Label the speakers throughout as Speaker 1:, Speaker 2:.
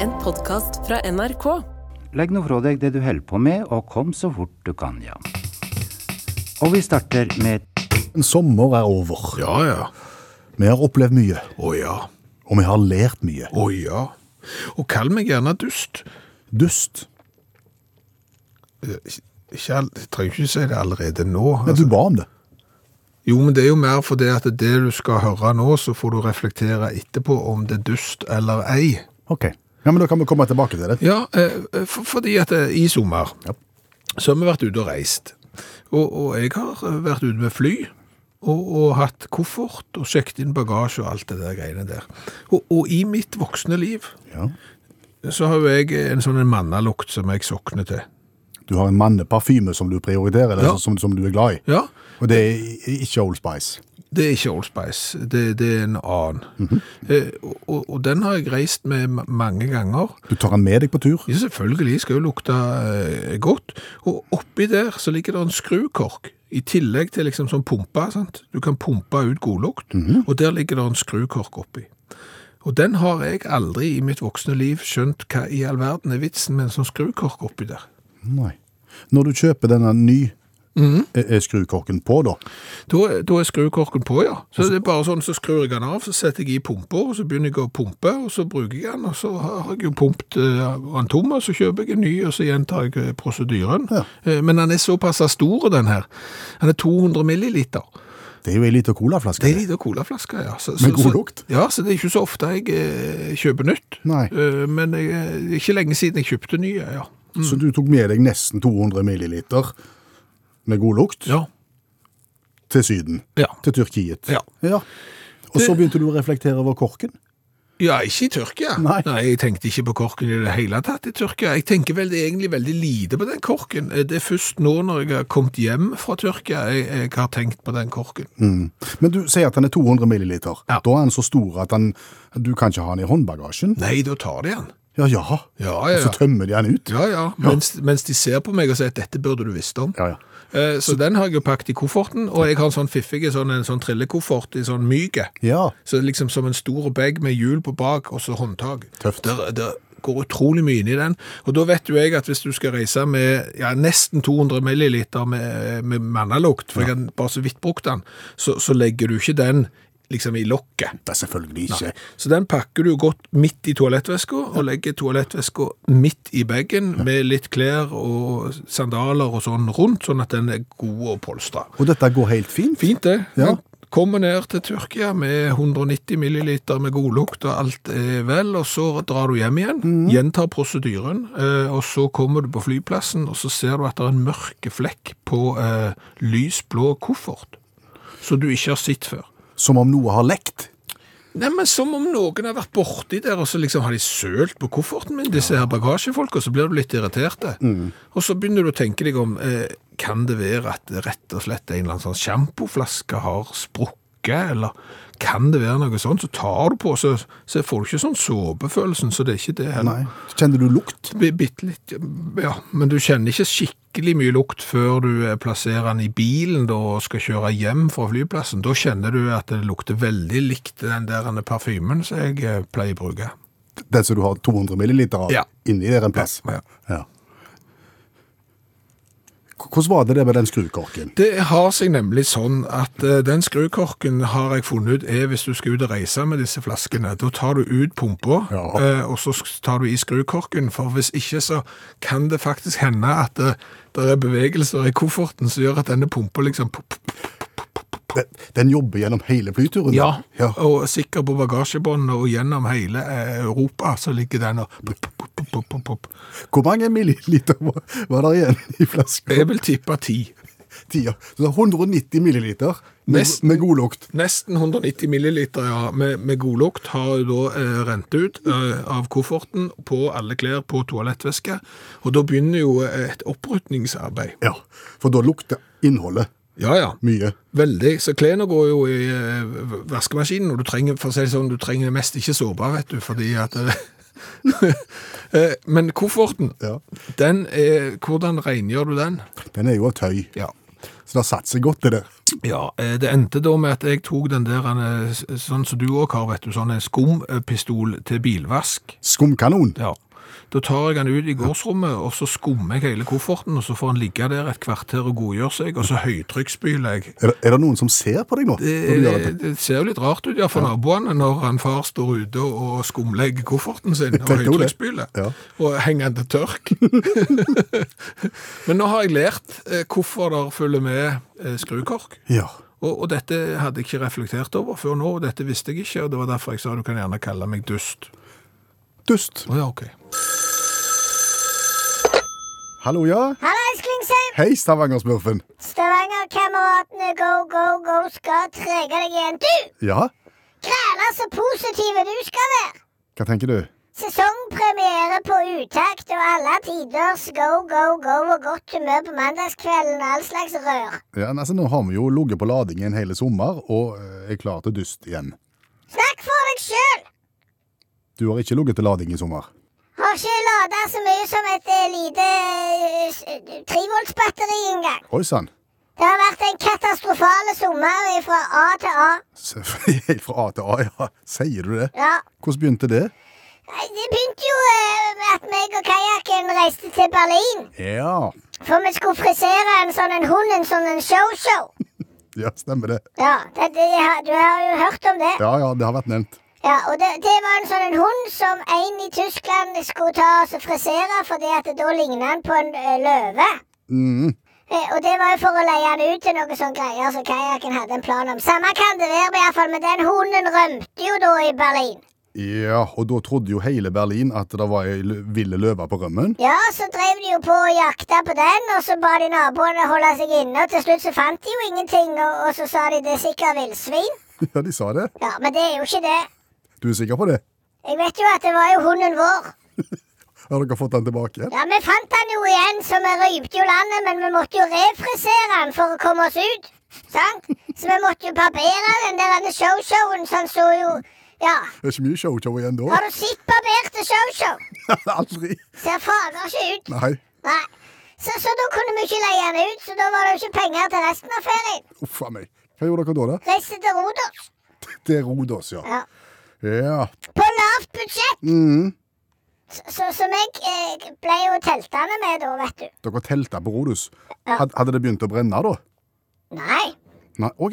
Speaker 1: En podkast fra NRK.
Speaker 2: Legg nå fra deg det du holder på med, og kom så fort du kan, ja. Og vi starter med
Speaker 3: En sommer er over.
Speaker 4: Ja, ja.
Speaker 3: Vi har opplevd mye,
Speaker 4: Å ja.
Speaker 3: og vi har lært mye.
Speaker 4: Å ja. Og kall meg gjerne dust.
Speaker 3: Dust.
Speaker 4: Eh, Ikke, all- jeg trenger ikke si det allerede nå.
Speaker 3: Men
Speaker 4: Altså.
Speaker 3: du ba om det.
Speaker 4: Jo, men det er jo mer fordi at det du skal høre nå, så får du reflektere etterpå om det er dust eller ei.
Speaker 3: Ok. Ja, men Da kan vi komme tilbake til det.
Speaker 4: Ja, eh, eh, for, fordi at eh, i sommer
Speaker 3: Ja.
Speaker 4: så har vi vært ute og reist. Og, og jeg har eh, vært ute med fly og, og hatt koffert og sjekket inn bagasje og alt det der greiene der. Og, og i mitt voksne liv
Speaker 3: Ja.
Speaker 4: så har jo jeg en sånn en mannalukt som jeg sokner til.
Speaker 3: Du har en manneparfyme som du prioriterer, eller
Speaker 4: Ja.
Speaker 3: som, som du er glad i.
Speaker 4: Ja,
Speaker 3: Og det er i- ikke Old Spice.
Speaker 4: det er ikke Old Spice, det, det er en annen. eh, og- og, og den har jeg reist med ma- mange ganger.
Speaker 3: Du tar den med deg på tur.
Speaker 4: Ja, selvfølgelig skal jo lukte eh, godt. Og oppi der så ligger det en skrukork, i tillegg til liksom sånn pumpe, sant? Du kan pumpe ut godlukt, og der ligger det en skrukork oppi. Og den har jeg aldri i mitt voksne liv skjønt hva i all verden er vitsen med en sånn skrukork oppi der.
Speaker 3: Nei. Når du kjøper denne ny
Speaker 4: Mhm.
Speaker 3: eh, eh, skrukorken på, da,
Speaker 4: Da, er- da er skrukorken på, ja. Så det er bare sånn, så skrur jeg den av, så setter jeg i pumpa, og så begynner jeg å pumpe, og så bruker jeg den, og så har jeg jo pumpt eh, den tom, og så kjøper jeg en ny, og så gjentar jeg eh, prosedyren.
Speaker 3: Ja.
Speaker 4: Eh, men den er såpass stor, den her. Den er 200 milliliter.
Speaker 3: det er jo ei lita colaflaske.
Speaker 4: Det er en liten colaflaske, ja. Så,
Speaker 3: Med
Speaker 4: så-
Speaker 3: god
Speaker 4: så-
Speaker 3: lukt.
Speaker 4: Ja, så det er ikke så ofte jeg eh, kjøper nytt.
Speaker 3: Nei.
Speaker 4: Eh, men jeg, det er ikke lenge siden jeg kjøpte nye, ja.
Speaker 3: Så du tok med deg nesten 200 milliliter med god lukt
Speaker 4: Ja,
Speaker 3: til Syden.
Speaker 4: ja.
Speaker 3: Til Tyrkiet.
Speaker 4: Ja.
Speaker 3: Og så begynte du å reflektere over korken.
Speaker 4: Ja, ikke i Tyrkia.
Speaker 3: Nei.
Speaker 4: jeg tenkte ikke på korken i det hele tatt i Tyrkia. Jeg tenker vel egentlig veldig lite på den korken. Eh, Det er først nå når jeg har kommet hjem fra Tyrkia jeg, jeg har tenkt på den korken.
Speaker 3: Men du sier at den er 200 milliliter.
Speaker 4: Ja.
Speaker 3: Da er den så stor at den, du kan ikke ha den i håndbagasjen.
Speaker 4: Nei, da tar de den.
Speaker 3: Ja, ja.
Speaker 4: Ja,
Speaker 3: Og
Speaker 4: ja.
Speaker 3: så tømmer de den ut.
Speaker 4: Ja, ja. Mens, mens de ser på meg og sier at dette burde du visst om.
Speaker 3: Ja, ja.
Speaker 4: Eh, Så den har jeg jo pakket i kofferten, og jeg har en sånn fiffige, sånn, en sånn trillekoffert i sånn myke.
Speaker 3: Ja.
Speaker 4: Så liksom som en stor bag med hjul på bak, og så håndtag.
Speaker 3: Tøft.
Speaker 4: Der, der går utrolig mye inn i den. Og da vet jo jeg at hvis du skal reise med ja, nesten 200 milliliter med, med mannalukt, for jeg har bare så vidt brukt den, så, så legger du ikke den liksom i lokket.
Speaker 3: Det er selvfølgelig ikke.
Speaker 4: Så den pakker du godt midt i toalettveska, og legger toalettveska midt i bagen med litt klær og sandaler og sånn rundt, sånn at den er god å polstre.
Speaker 3: Og dette går helt fint.
Speaker 4: Fint det.
Speaker 3: Ja.
Speaker 4: Jeg Kommer ned til Tyrkia med 190 milliliter med godlukt og alt er vel, og så drar du hjem igjen, gjentar prosedyren, eh, og så kommer du på flyplassen, og så ser du at det er en mørke flekk på eh, lysblå koffert, som du ikke har sett før.
Speaker 3: Som om noe har lekt.
Speaker 4: Nei, men som om noen har vært borti der, og så liksom har de sølt på kofferten min, disse her bagasjefolk, og så blir du litt irriterte. Og så begynner du å tenke deg om, eh, kan det være at det rett og slett en eller annen sånn sjampoflaske har sprukket, eller kan det være noe sånt, så tar du på, så, så får du ikke sånn såpefølelsen, så det er ikke det heller.
Speaker 3: Nei. Kjenner du lukt?
Speaker 4: Bi- Bitte litt, ja, men du kjenner ikke skikkelig mye lukt før du eh, plasserer den i bilen da, og skal kjøre hjem fra flyplassen. Da kjenner du at det lukter veldig likt den der ene parfymen som jeg eh, pleier å bruke.
Speaker 3: Den som du har 200 milliliter av
Speaker 4: Ja.
Speaker 3: inni der en plass?
Speaker 4: Ja.
Speaker 3: Ja. H- Hvordan var det det med den skrukorken?
Speaker 4: Det har seg nemlig sånn at eh, den skrukorken har jeg funnet ut er hvis du skal ut og reise med disse flaskene. Da tar du ut pumpa,
Speaker 3: Ja.
Speaker 4: eh, og så sk- tar du i skrukorken. For hvis ikke så kan det faktisk hende at det, det er bevegelser i kofferten som gjør at denne pumpa liksom pop, pop,
Speaker 3: Den, den jobber gjennom hele flyturen? da.
Speaker 4: Ja,
Speaker 3: ja.
Speaker 4: og sikker på bagasjebåndet og gjennom hele eh, Europa så ligger den og pop, pop, pop, pop, pop, pop.
Speaker 3: Hvor mange milliliter var, var det igjen i flaska?
Speaker 4: Jeg vil tippe ti.
Speaker 3: Ti, ja. Så det er 190 milliliter med,
Speaker 4: Nesten.
Speaker 3: med god lukt.
Speaker 4: Nesten 190 milliliter ja, med, med godlukt har jo da eh, rent ut eh, av kofferten på alle klær på toalettveske, og da begynner jo eh, et opprydningsarbeid.
Speaker 3: Ja, for da lukter innholdet
Speaker 4: Ja, ja.
Speaker 3: mye.
Speaker 4: Veldig. Så klærne går jo i eh, vaskemaskinen, og du trenger, for å si det sånn, du trenger mest ikke såpe, vet du, fordi at eh, eh, Men kofferten,
Speaker 3: Ja.
Speaker 4: den er, hvordan rengjør du den?
Speaker 3: Den er jo av tøy,
Speaker 4: Ja.
Speaker 3: så det har satt seg godt det der.
Speaker 4: Ja, eh, det endte da med at jeg tok den der, eh, s- sånn som du òg har, vet du, sånn en skumpistol til bilvask.
Speaker 3: Skumkanon.
Speaker 4: Ja. Da tar jeg den ut i gårdsrommet, og så skummer jeg hele kofferten, og så får den ligge der et kvarter og godgjøre seg, og så høytrykksspyler jeg.
Speaker 3: Er det, er det noen som ser på deg nå?
Speaker 4: Det,
Speaker 3: når du gjør dette?
Speaker 4: det ser jo litt rart ut, ja, for naboene når han far står ute og skumlegger kofferten sin og
Speaker 3: tenker jo det.
Speaker 4: høytrykksspyler,
Speaker 3: Ja.
Speaker 4: og henger den til tørk. Men nå har jeg lært eh, hvorfor der følger med eh, skrukork.
Speaker 3: Ja.
Speaker 4: Og, og dette hadde jeg ikke reflektert over før nå, og dette visste jeg ikke, og det var derfor jeg sa du kan gjerne kalle meg dust.
Speaker 3: Dust.
Speaker 4: Å ja, ok.
Speaker 3: Hallo, ja.
Speaker 5: Hallais, Klingsheim!
Speaker 3: Hei, Stavanger-smurfen.
Speaker 5: Stavanger-kameratene go, go, go skal trege deg igjen. Du!
Speaker 3: Ja,
Speaker 5: Græla så positive du skal være!
Speaker 3: hva tenker du?
Speaker 5: Sesongpremiere på utakt og alle tiders go, go, go og godt humør på mandagskvelden og all slags rør.
Speaker 3: Ja, men altså, nå har vi jo ligget på lading en hele sommer, og eh, er klar til dust igjen.
Speaker 5: Snakk for deg sjøl!
Speaker 3: Du har ikke ligget til lading i sommer.
Speaker 5: Har ikke lada så mye som et eh, lite eh, s- eh, trevoltsbatteri engang.
Speaker 3: Oi sann.
Speaker 5: Det har vært en katastrofale sommer fra A til A.
Speaker 3: Så- Helt fra A til A, ja. Sier du det?
Speaker 5: Ja.
Speaker 3: Hvordan begynte det?
Speaker 5: Nei, Det begynte jo eh, med at meg og kajakken reiste til Berlin.
Speaker 3: Ja.
Speaker 5: For vi skulle frisere en sånn en hund, en sånn en show-show.
Speaker 3: Ja, stemmer det.
Speaker 5: Ja, det, det, du har jo hørt om det. Ja,
Speaker 3: Ja, ja, det har vært nevnt.
Speaker 5: og det, det var en sånn en hund som en i Tyskland skulle ta oss og frisere, fordi at da lignet han på en eh, løve.
Speaker 3: Mm.
Speaker 5: Eh, Og det var jo for å leie han ut til noen sånne greier som kajakken hadde en plan om. Samme kan det være, men i hvert fall, men den hunden rømte jo da i Berlin.
Speaker 3: Ja, og da trodde jo hele Berlin at det var ei lø- ville løve på rømmen.
Speaker 5: Ja, så drev de jo på og jakta på den, og så ba de naboene holde seg inne, og til slutt så fant de jo ingenting, og, og så sa de det er sikkert villsvin.
Speaker 3: Ja, de sa det.
Speaker 5: Ja, men det er jo ikke det.
Speaker 3: Du er sikker på det?
Speaker 5: Jeg vet jo at det var jo hunden vår.
Speaker 3: Har dere fått den tilbake?
Speaker 5: Ja, vi fant han jo igjen, så vi røypte jo landet, men vi måtte jo refrisere han for å komme oss ut. Sant? Så vi måtte jo barbere den der denne show-showen, så han så jo Ja.
Speaker 3: Det er ikke mye show-show igjen da.
Speaker 5: Har du sett barberte show-show?
Speaker 3: Aldri.
Speaker 5: Ser fader ikke ut.
Speaker 3: Nei.
Speaker 5: Nei. Så, så da kunne vi ikke leie han ut, så da var det jo ikke penger til resten av ferien.
Speaker 3: Uff a meg. Hva gjorde dere da? da?
Speaker 5: Reiste til Rodos.
Speaker 3: Det er Rodos, ja.
Speaker 5: Ja.
Speaker 3: Ja.
Speaker 5: På lavt budsjett!
Speaker 3: Mm.
Speaker 5: Så, så, som jeg eh, ble jo teltende med da, vet du.
Speaker 3: Dere telta på Rodos.
Speaker 5: Ja.
Speaker 3: Had- Hadde det begynt å brenne da?
Speaker 5: Nei,
Speaker 3: Nei, OK.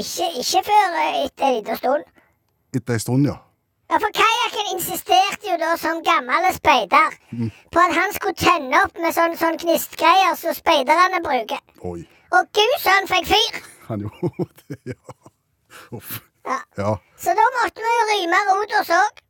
Speaker 5: ikke, ikke før eh, etter en liten stund.
Speaker 3: Etter ei stund, ja.
Speaker 5: Ja, for Kajakken insisterte jo da som gammel speider
Speaker 3: Mm.
Speaker 5: på at han skulle tenne opp med sånn, sånn gnistgreier som speiderne bruker.
Speaker 3: Oi.
Speaker 5: Og gud, så han fikk fyr!
Speaker 3: Han gjorde det, ja. Uff.
Speaker 5: Ja.
Speaker 3: Ja.
Speaker 5: Så da måtte vi jo ryme Rodos òg.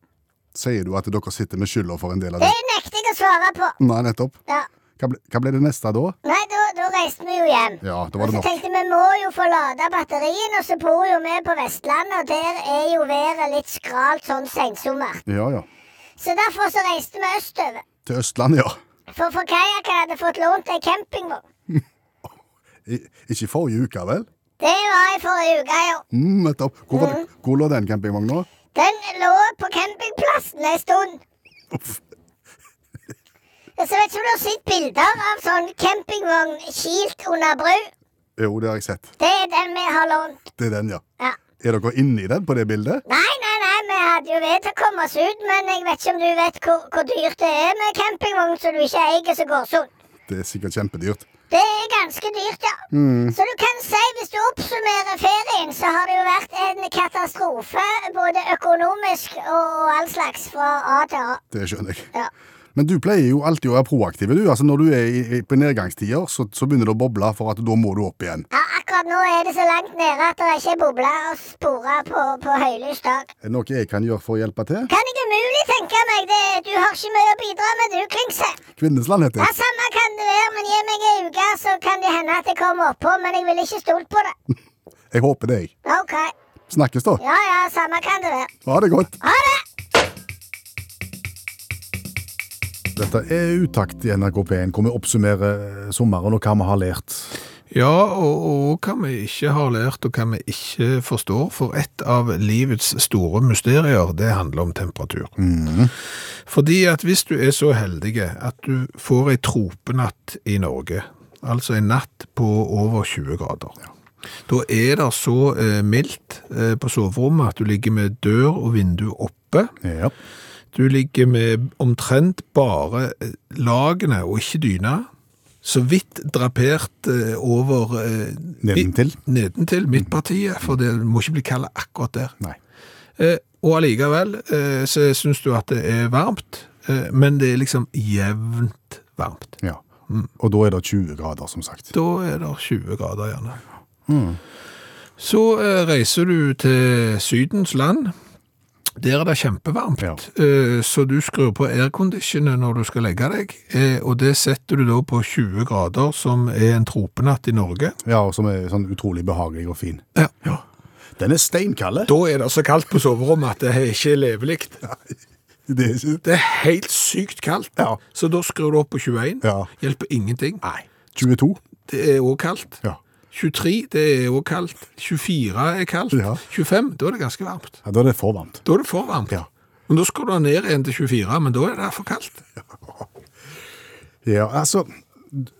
Speaker 3: Sier du at dere sitter med skylda for en del av
Speaker 5: Det
Speaker 3: det?
Speaker 5: nekter jeg å svare på.
Speaker 3: Nei, nettopp.
Speaker 5: Ja.
Speaker 3: Hva ble, hva ble det neste da?
Speaker 5: Nei, da, da reiste vi jo hjem.
Speaker 3: Ja, da
Speaker 5: Og
Speaker 3: var det
Speaker 5: så
Speaker 3: nok.
Speaker 5: tenkte vi må jo få lada batterien, og så bor jo vi på Vestlandet, og der er jo været litt skralt sånn sensommer.
Speaker 3: Ja, ja.
Speaker 5: Så derfor så reiste vi østover.
Speaker 3: Til Østlandet, ja.
Speaker 5: For, for kajakken hadde fått lånt ei campingvogn.
Speaker 3: I, ikke i forrige uke, vel?
Speaker 5: Det var i forrige uke, ja.
Speaker 3: Mm, nettopp. Hvor, var det, hvor lå den campingvogna?
Speaker 5: Den lå på campingplassen ei stund.
Speaker 3: Uff.
Speaker 5: Så vet ikke om du har sett bilder av sånn campingvogn kilt under bru.
Speaker 3: Jo, det har jeg sett.
Speaker 5: Det er den vi har lånt.
Speaker 3: Det er den, ja.
Speaker 5: Ja.
Speaker 3: Er dere inni den på det bildet?
Speaker 5: Nei, nei, nei, vi hadde jo vett til å komme oss ut, men jeg vet ikke om du vet hvor, hvor dyrt det er med campingvogn som du ikke eier som går sånn.
Speaker 3: Det er sikkert kjempedyrt.
Speaker 5: Det er ganske dyrt, ja. Så du kan si, hvis du oppsummerer ferien, så har det jo vært en katastrofe både økonomisk og, og all slags fra A til A.
Speaker 3: Det skjønner jeg.
Speaker 5: Ja.
Speaker 3: Men du pleier jo alltid å være proaktiv. du. Altså Når du er i, i, på nedgangstider, så, så begynner det å boble for at da må du opp igjen.
Speaker 5: ja, akkurat nå er det så langt nede at det er ikke er boble å spore på, på høylys dag.
Speaker 3: Er det noe jeg kan gjøre for å hjelpe til?
Speaker 5: Kan jeg umulig tenke meg det? Du har ikke mye å bidra med, du, Klingsheim.
Speaker 3: Kvinnesland heter
Speaker 5: Ja,
Speaker 3: det.
Speaker 5: Samme kan det være, men gi meg ei uke, så kan det hende at jeg kommer oppå. Men jeg vil ikke stole på det.
Speaker 3: Jeg håper det, jeg.
Speaker 5: OK.
Speaker 3: Snakkes, da.
Speaker 5: Ja ja, samme kan det være.
Speaker 3: Ha det godt.
Speaker 5: Ha det!
Speaker 3: Dette er Utakt i NRK P1, hvor vi oppsummerer eh, sommeren og hva vi har lært.
Speaker 4: Ja, og, og hva vi ikke har lært, og hva vi ikke forstår, for et av livets store mysterier, det handler om temperatur. Fordi at hvis du er så heldig at du får ei tropenatt i Norge, altså en natt på over 20 grader, Da er det så eh, mildt eh, på soverommet at du ligger med dør og vindu oppe.
Speaker 3: Ja.
Speaker 4: Du ligger med omtrent bare eh, lagene og ikke dyna. Så vidt drapert eh, over eh,
Speaker 3: Nedentil.
Speaker 4: midt- nedentil, midtpartiet, for det må ikke bli kallet akkurat der.
Speaker 3: Nei.
Speaker 4: Eh, og allikevel eh, så syns du at det er varmt, eh, men det er liksom jevnt varmt.
Speaker 3: Ja.
Speaker 4: Mm.
Speaker 3: Og da er det 20 grader, som sagt.
Speaker 4: Da er det 20 grader gjerne.
Speaker 3: Mm.
Speaker 4: Så eh, reiser du til Sydens land. Der er det kjempevarmt,
Speaker 3: Ja.
Speaker 4: eh, så du skrur på airconditionen når du skal legge deg. Eh, og det setter du da på 20 grader, som er en tropenatt i Norge.
Speaker 3: Ja, og som er sånn utrolig behagelig og fin.
Speaker 4: Ja.
Speaker 3: Den er steinkalde.
Speaker 4: Da er det så kaldt på soverommet at det er ikke levelig.
Speaker 3: Det er ikke...
Speaker 4: Det er helt sykt kaldt.
Speaker 3: Ja.
Speaker 4: Så da skrur du opp på 21.
Speaker 3: Ja.
Speaker 4: Hjelper ingenting. Nei.
Speaker 3: 22?
Speaker 4: Det er òg kaldt.
Speaker 3: Ja.
Speaker 4: 23, det er òg kaldt. 24 er kaldt.
Speaker 3: Ja.
Speaker 4: 25, da er det ganske varmt.
Speaker 3: ja. Da er det for varmt.
Speaker 4: Da er det for varmt.
Speaker 3: Ja.
Speaker 4: Men da skal du ned igjen til 24, men da er det for kaldt.
Speaker 3: Ja, altså,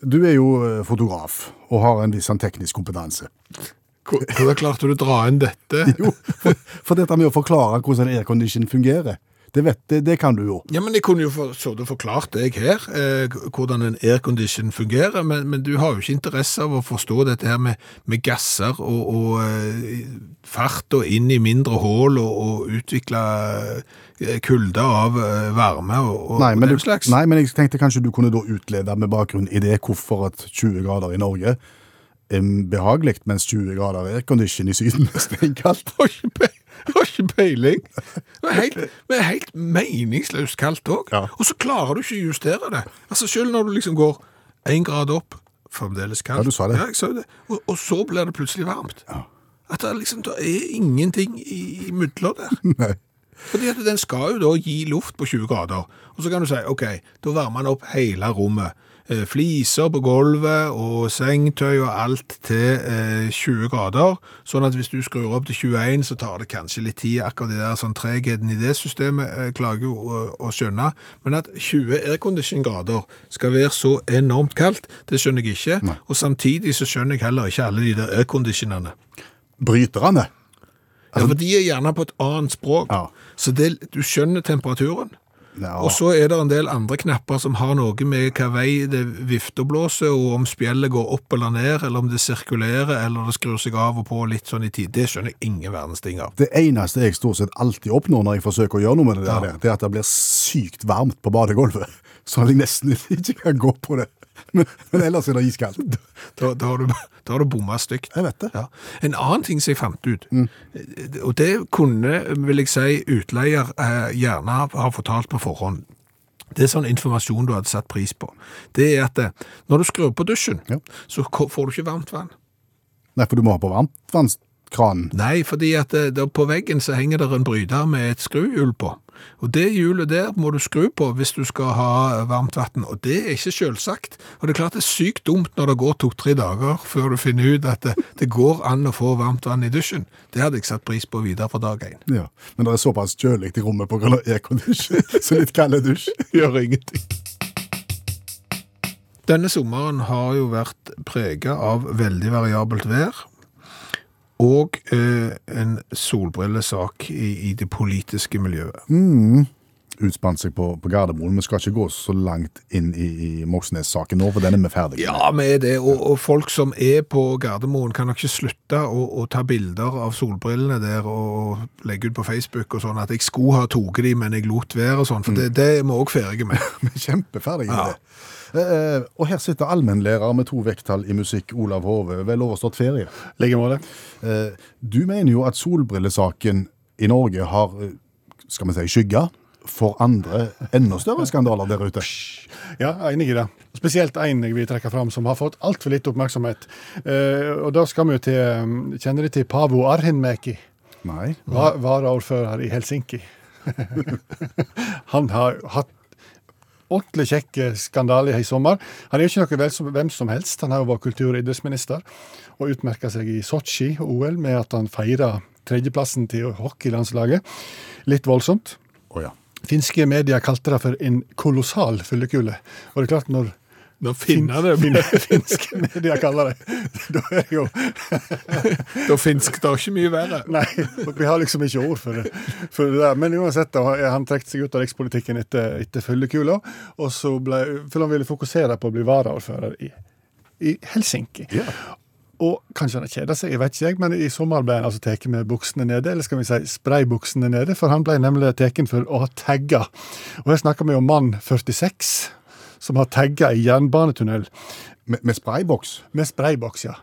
Speaker 3: du er jo eh, fotograf og har en viss sånn teknisk kompetanse.
Speaker 4: Hvor- Hvordan klarte du å dra inn dette?
Speaker 3: Jo, for, for dette med å forklare hvordan aircondition fungerer, det, vet, det, det kan du jo.
Speaker 4: Ja, men Jeg kunne jo for, så det forklart deg her, eh, hvordan en aircondition fungerer, men, men du har jo ikke interesse av å forstå dette her med, med gasser og, og eh, fart og inn i mindre hål og, og utvikle eh, kulde av eh, varme og, og,
Speaker 3: Nei men,
Speaker 4: og den
Speaker 3: du,
Speaker 4: slags.
Speaker 3: nei, men jeg tenkte kanskje du kunne da utlede med bakgrunn i det hvorfor at 20 grader i Norge er behagelig, mens 20 grader aircondition i Syden er steinkaldt.
Speaker 4: Har ikke pe- har ikke peiling. Det er helt, det er helt meningsløst kaldt òg.
Speaker 3: Ja.
Speaker 4: Og så klarer du ikke å justere det. Altså Selv når du liksom går én grad opp, fremdeles kaldt.
Speaker 3: Ja, du sa det.
Speaker 4: jeg sa jo det. Og, og så blir det plutselig varmt. At det, er liksom, det er ingenting i- imidler der.
Speaker 3: Nei.
Speaker 4: Fordi at den skal jo da gi luft på 20 grader. Og så kan du si, ok, da varmer den opp hele rommet. Eh, Fliser på gulvet og sengetøy og alt til eh, 20 grader. Sånn at hvis du skrur opp til 21, så tar det kanskje litt tid. Akkurat det der sånn tregheten i det systemet eh, klager jo å, å skjønne. Men at 20 aircondition-grader skal være så enormt kaldt, det skjønner jeg ikke. Og samtidig så skjønner jeg heller ikke alle de der airconditionene.
Speaker 3: Bryterne.
Speaker 4: Ja, for de er gjerne på et annet språk,
Speaker 3: Altså- Ja.
Speaker 4: så det, du skjønner temperaturen.
Speaker 3: Ja.
Speaker 4: Og så er det en del andre knapper som har noe med hva vei det vifter og blåser, og om spjellet går opp eller ned, eller om det sirkulerer, eller det skrur seg av og på litt sånn i tid. Det skjønner jeg ingen verdens ting av.
Speaker 3: Det eneste jeg stort sett alltid oppnår når jeg forsøker å gjøre noe med det der, det er at det blir sykt varmt på badegulvet. Sånn at jeg nesten ikke kan gå på det. Men, men ellers er det iskaldt.
Speaker 4: Da, da har du, da har du bomma stygt.
Speaker 3: Jeg vet det. Mm.
Speaker 4: Ja. En annen ting som jeg fant ut, og det kunne, vil jeg si, utleier eh, gjerne ha- ha fortalt på forhånd. Det er sånn informasjon du hadde satt pris på. Det er at eh, når du skrur på dusjen,
Speaker 3: Ja.
Speaker 4: så ko- får du ikke varmt vann.
Speaker 3: Nei, for du må ha på varmtvannskranen.
Speaker 4: Nei, fordi at eh, der på veggen så henger det en bryter med et skruhjul på. Og det hjulet der må du skru på hvis du skal ha eh, varmt vann, og det er ikke selvsagt. Og det er klart det er sykt dumt når det går to-tre dager før du finner ut at det, det går an å få varmt vann i dusjen. Det hadde jeg satt pris på videre fra dag én.
Speaker 3: Ja. Men det er såpass kjølig i rommet på grunn av aircondition, så litt kald dusj.
Speaker 4: Gjør ingenting. Denne sommeren har jo vært prega av veldig variabelt vær. Og eh, en solbrillesak i, i det politiske miljøet.
Speaker 3: Utspant seg på, på Gardermoen. Vi skal ikke gå så langt inn i, i Moxnes-saken nå, for den er vi ferdig med.
Speaker 4: Ja, vi er det. Og, og folk som er på Gardermoen, kan nok ikke slutte å, å ta bilder av solbrillene der og legge ut på Facebook og sånn at jeg skulle ha tatt de, men jeg lot være og sånn. For det, det er vi òg ferdige med.
Speaker 3: Mm. Vi er kjempeferdige med
Speaker 4: Ja.
Speaker 3: det. Eh, og her sitter allmennlærer med to vekttall i musikk, Olav Hove. Vel overstått ferie.
Speaker 6: Like måte.
Speaker 3: Eh, Du mener jo at solbrillesaken i Norge har, eh, skal vi si, skygga for andre enda større skandaler der ute.
Speaker 6: Ja, jeg er enig i det. Spesielt én jeg vil trekke fram, som har fått altfor lite oppmerksomhet. Eh, og da skal vi jo til eh, Kjenner du til Pavo Arhinmäki?
Speaker 3: Nei.
Speaker 6: Var, varaordfører i Helsinki. Han har hatt ordentlig kjekk eh, skandale i sommer. Han er jo ikke noe vel som, hvem som helst. Han har jo vært kultur- og idrettsminister og utmerka seg i Sotsji og OL med at han feira tredjeplassen til hockeylandslaget. Litt voldsomt.
Speaker 3: Å ja.
Speaker 6: Finske medier kalte det for en kolossal fyllekule. Og det er klart, når
Speaker 4: Når finnene
Speaker 6: Fin- finske medier kaller det. Da er det jo
Speaker 4: Da finsk, det er ikke mye verre.
Speaker 6: Nei, vi har liksom ikke ord for det. For det der. Men uansett, da, har han trekte seg ut av rikspolitikken etter, etter fyllekula, og så ble, for han ville fokusere på å bli varaordfører i, i Helsinki. Og kanskje han har kjeda seg, jeg vet ikke jeg, men i sommer ble han altså tatt med buksene nede, eller skal vi si spraybuksene nede, for han ble nemlig tatt for å ha tagga. Og her snakker vi om mann 46, som har tagga i jernbanetunnel.
Speaker 3: Med, med sprayboks.
Speaker 6: Med sprayboks, ja.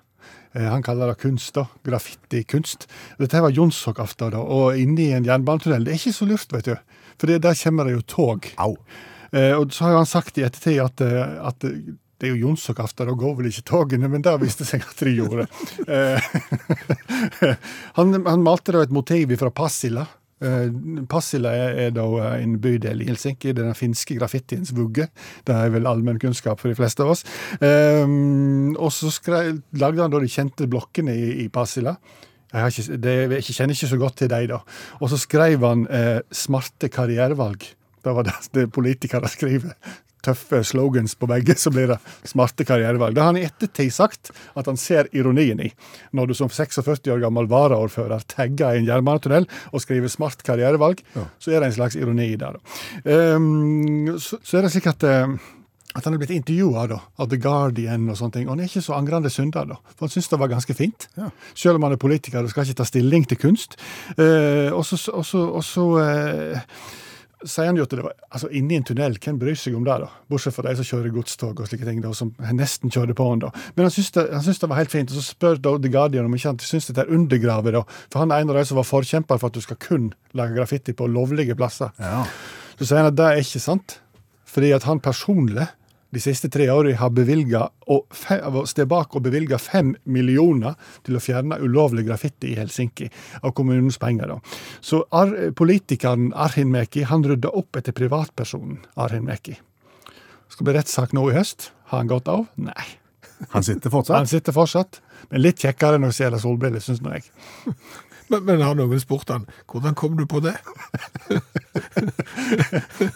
Speaker 6: Eh, Han kaller det kunst, da. Graffitikunst. Dette her var Jonsokaften, da, og inne i en jernbanetunnel. Det er ikke så lurt, vet du. For det, der kommer det jo tog.
Speaker 3: Au.
Speaker 6: Eh, Og så har jo han sagt i ettertid at, eh, at eh, det er jo Jonsokaften, da går vel ikke togene? Men det viste seg at de gjorde. Eh, han, han malte da et motiv fra Passila. Eh, Passila er, er da eh, en bydel i Helsinki. Det er den finske graffitiens vugge. Det er vel allmenn kunnskap for de fleste av oss. Eh, og så skre- lagde han da de kjente blokkene i, i Passila. Jeg, har ikke, det, jeg kjenner ikke så godt til dem, da. Og så skrev han eh, 'smarte karrierevalg'. Det var det, det politikere skriver. Tøffe slogans på begge, så blir det smarte karrierevalg. Det har han i ettertid sagt at han ser ironien i. Når du som 46 år gammel varaordfører tagger i en jernbanetunnel og skriver 'smart karrierevalg', så er det en slags ironi der. da. Um, så, så er det slik at eh, at han er blitt intervjua av The Guardian, og sånne ting, og han er ikke så angrende synder. da, for Han syns det var ganske fint. Selv om han er politiker og skal ikke ta stilling til kunst. Eh, og så, og så, og så eh, sier han jo at det var altså inni en tunnel, hvem bryr seg om det, da? Bortsett fra de som kjører godstog og slike ting, da, som nesten kjørte på han, da. Men han syntes det, han syntes det var helt fint, og så spør da The Guardian om ikke han syntes dette er undergravet, da. For han er en av de som var forkjemper for at du skal kun lage graffiti på lovlige plasser. Så sier han at det er ikke sant, fordi at han personlig de siste tre årene har bevilga og fe- av å stå bak og bevilga fem millioner til å fjerne ulovlig graffiti i Helsinki av kommunens penger. da. Så ar politikeren Arhin Meki han rydda opp etter privatpersonen Arhin Meki. Skal bli rettssak nå i høst. Har han gått av? Nei.
Speaker 3: Han sitter
Speaker 6: Han
Speaker 3: fortsatt.
Speaker 6: sitter fortsatt, men litt kjekkere enn å stjele solbriller, syns nå jeg.
Speaker 4: Men, men har noen spurt han hvordan kom du på det?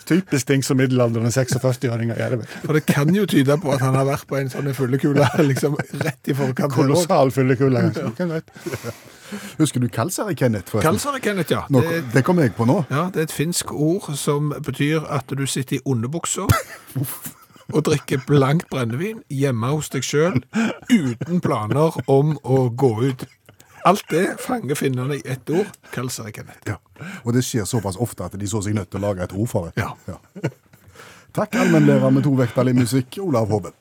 Speaker 6: Typisk ting som middelaldrende 46-åringer gjør. det vel.
Speaker 4: For det kan jo tyde på at han har vært på en sånn fyllekule liksom, rett i forkant. her også.
Speaker 6: Kolossal fyllekulle. Hvem vet?
Speaker 3: Husker du Kalsari, Kenneth? forresten?
Speaker 4: Kalsar det, Kenneth, ja.
Speaker 3: Nå,
Speaker 4: Det,
Speaker 3: det kom jeg på nå.
Speaker 4: ja. Det er et finsk ord som betyr at du sitter i underbukser og drikker blankt brennevin hjemme hos deg sjøl uten planer om å gå ut. Alt det fanger finnene i ett ord. Kalsar det, Kenneth.
Speaker 3: Ja. Og det skjer såpass ofte at de så seg nødt til å lage et ord for det.
Speaker 4: Ja.
Speaker 3: Takk, allmennlærer med to vekttall i musikk, Olav Hove.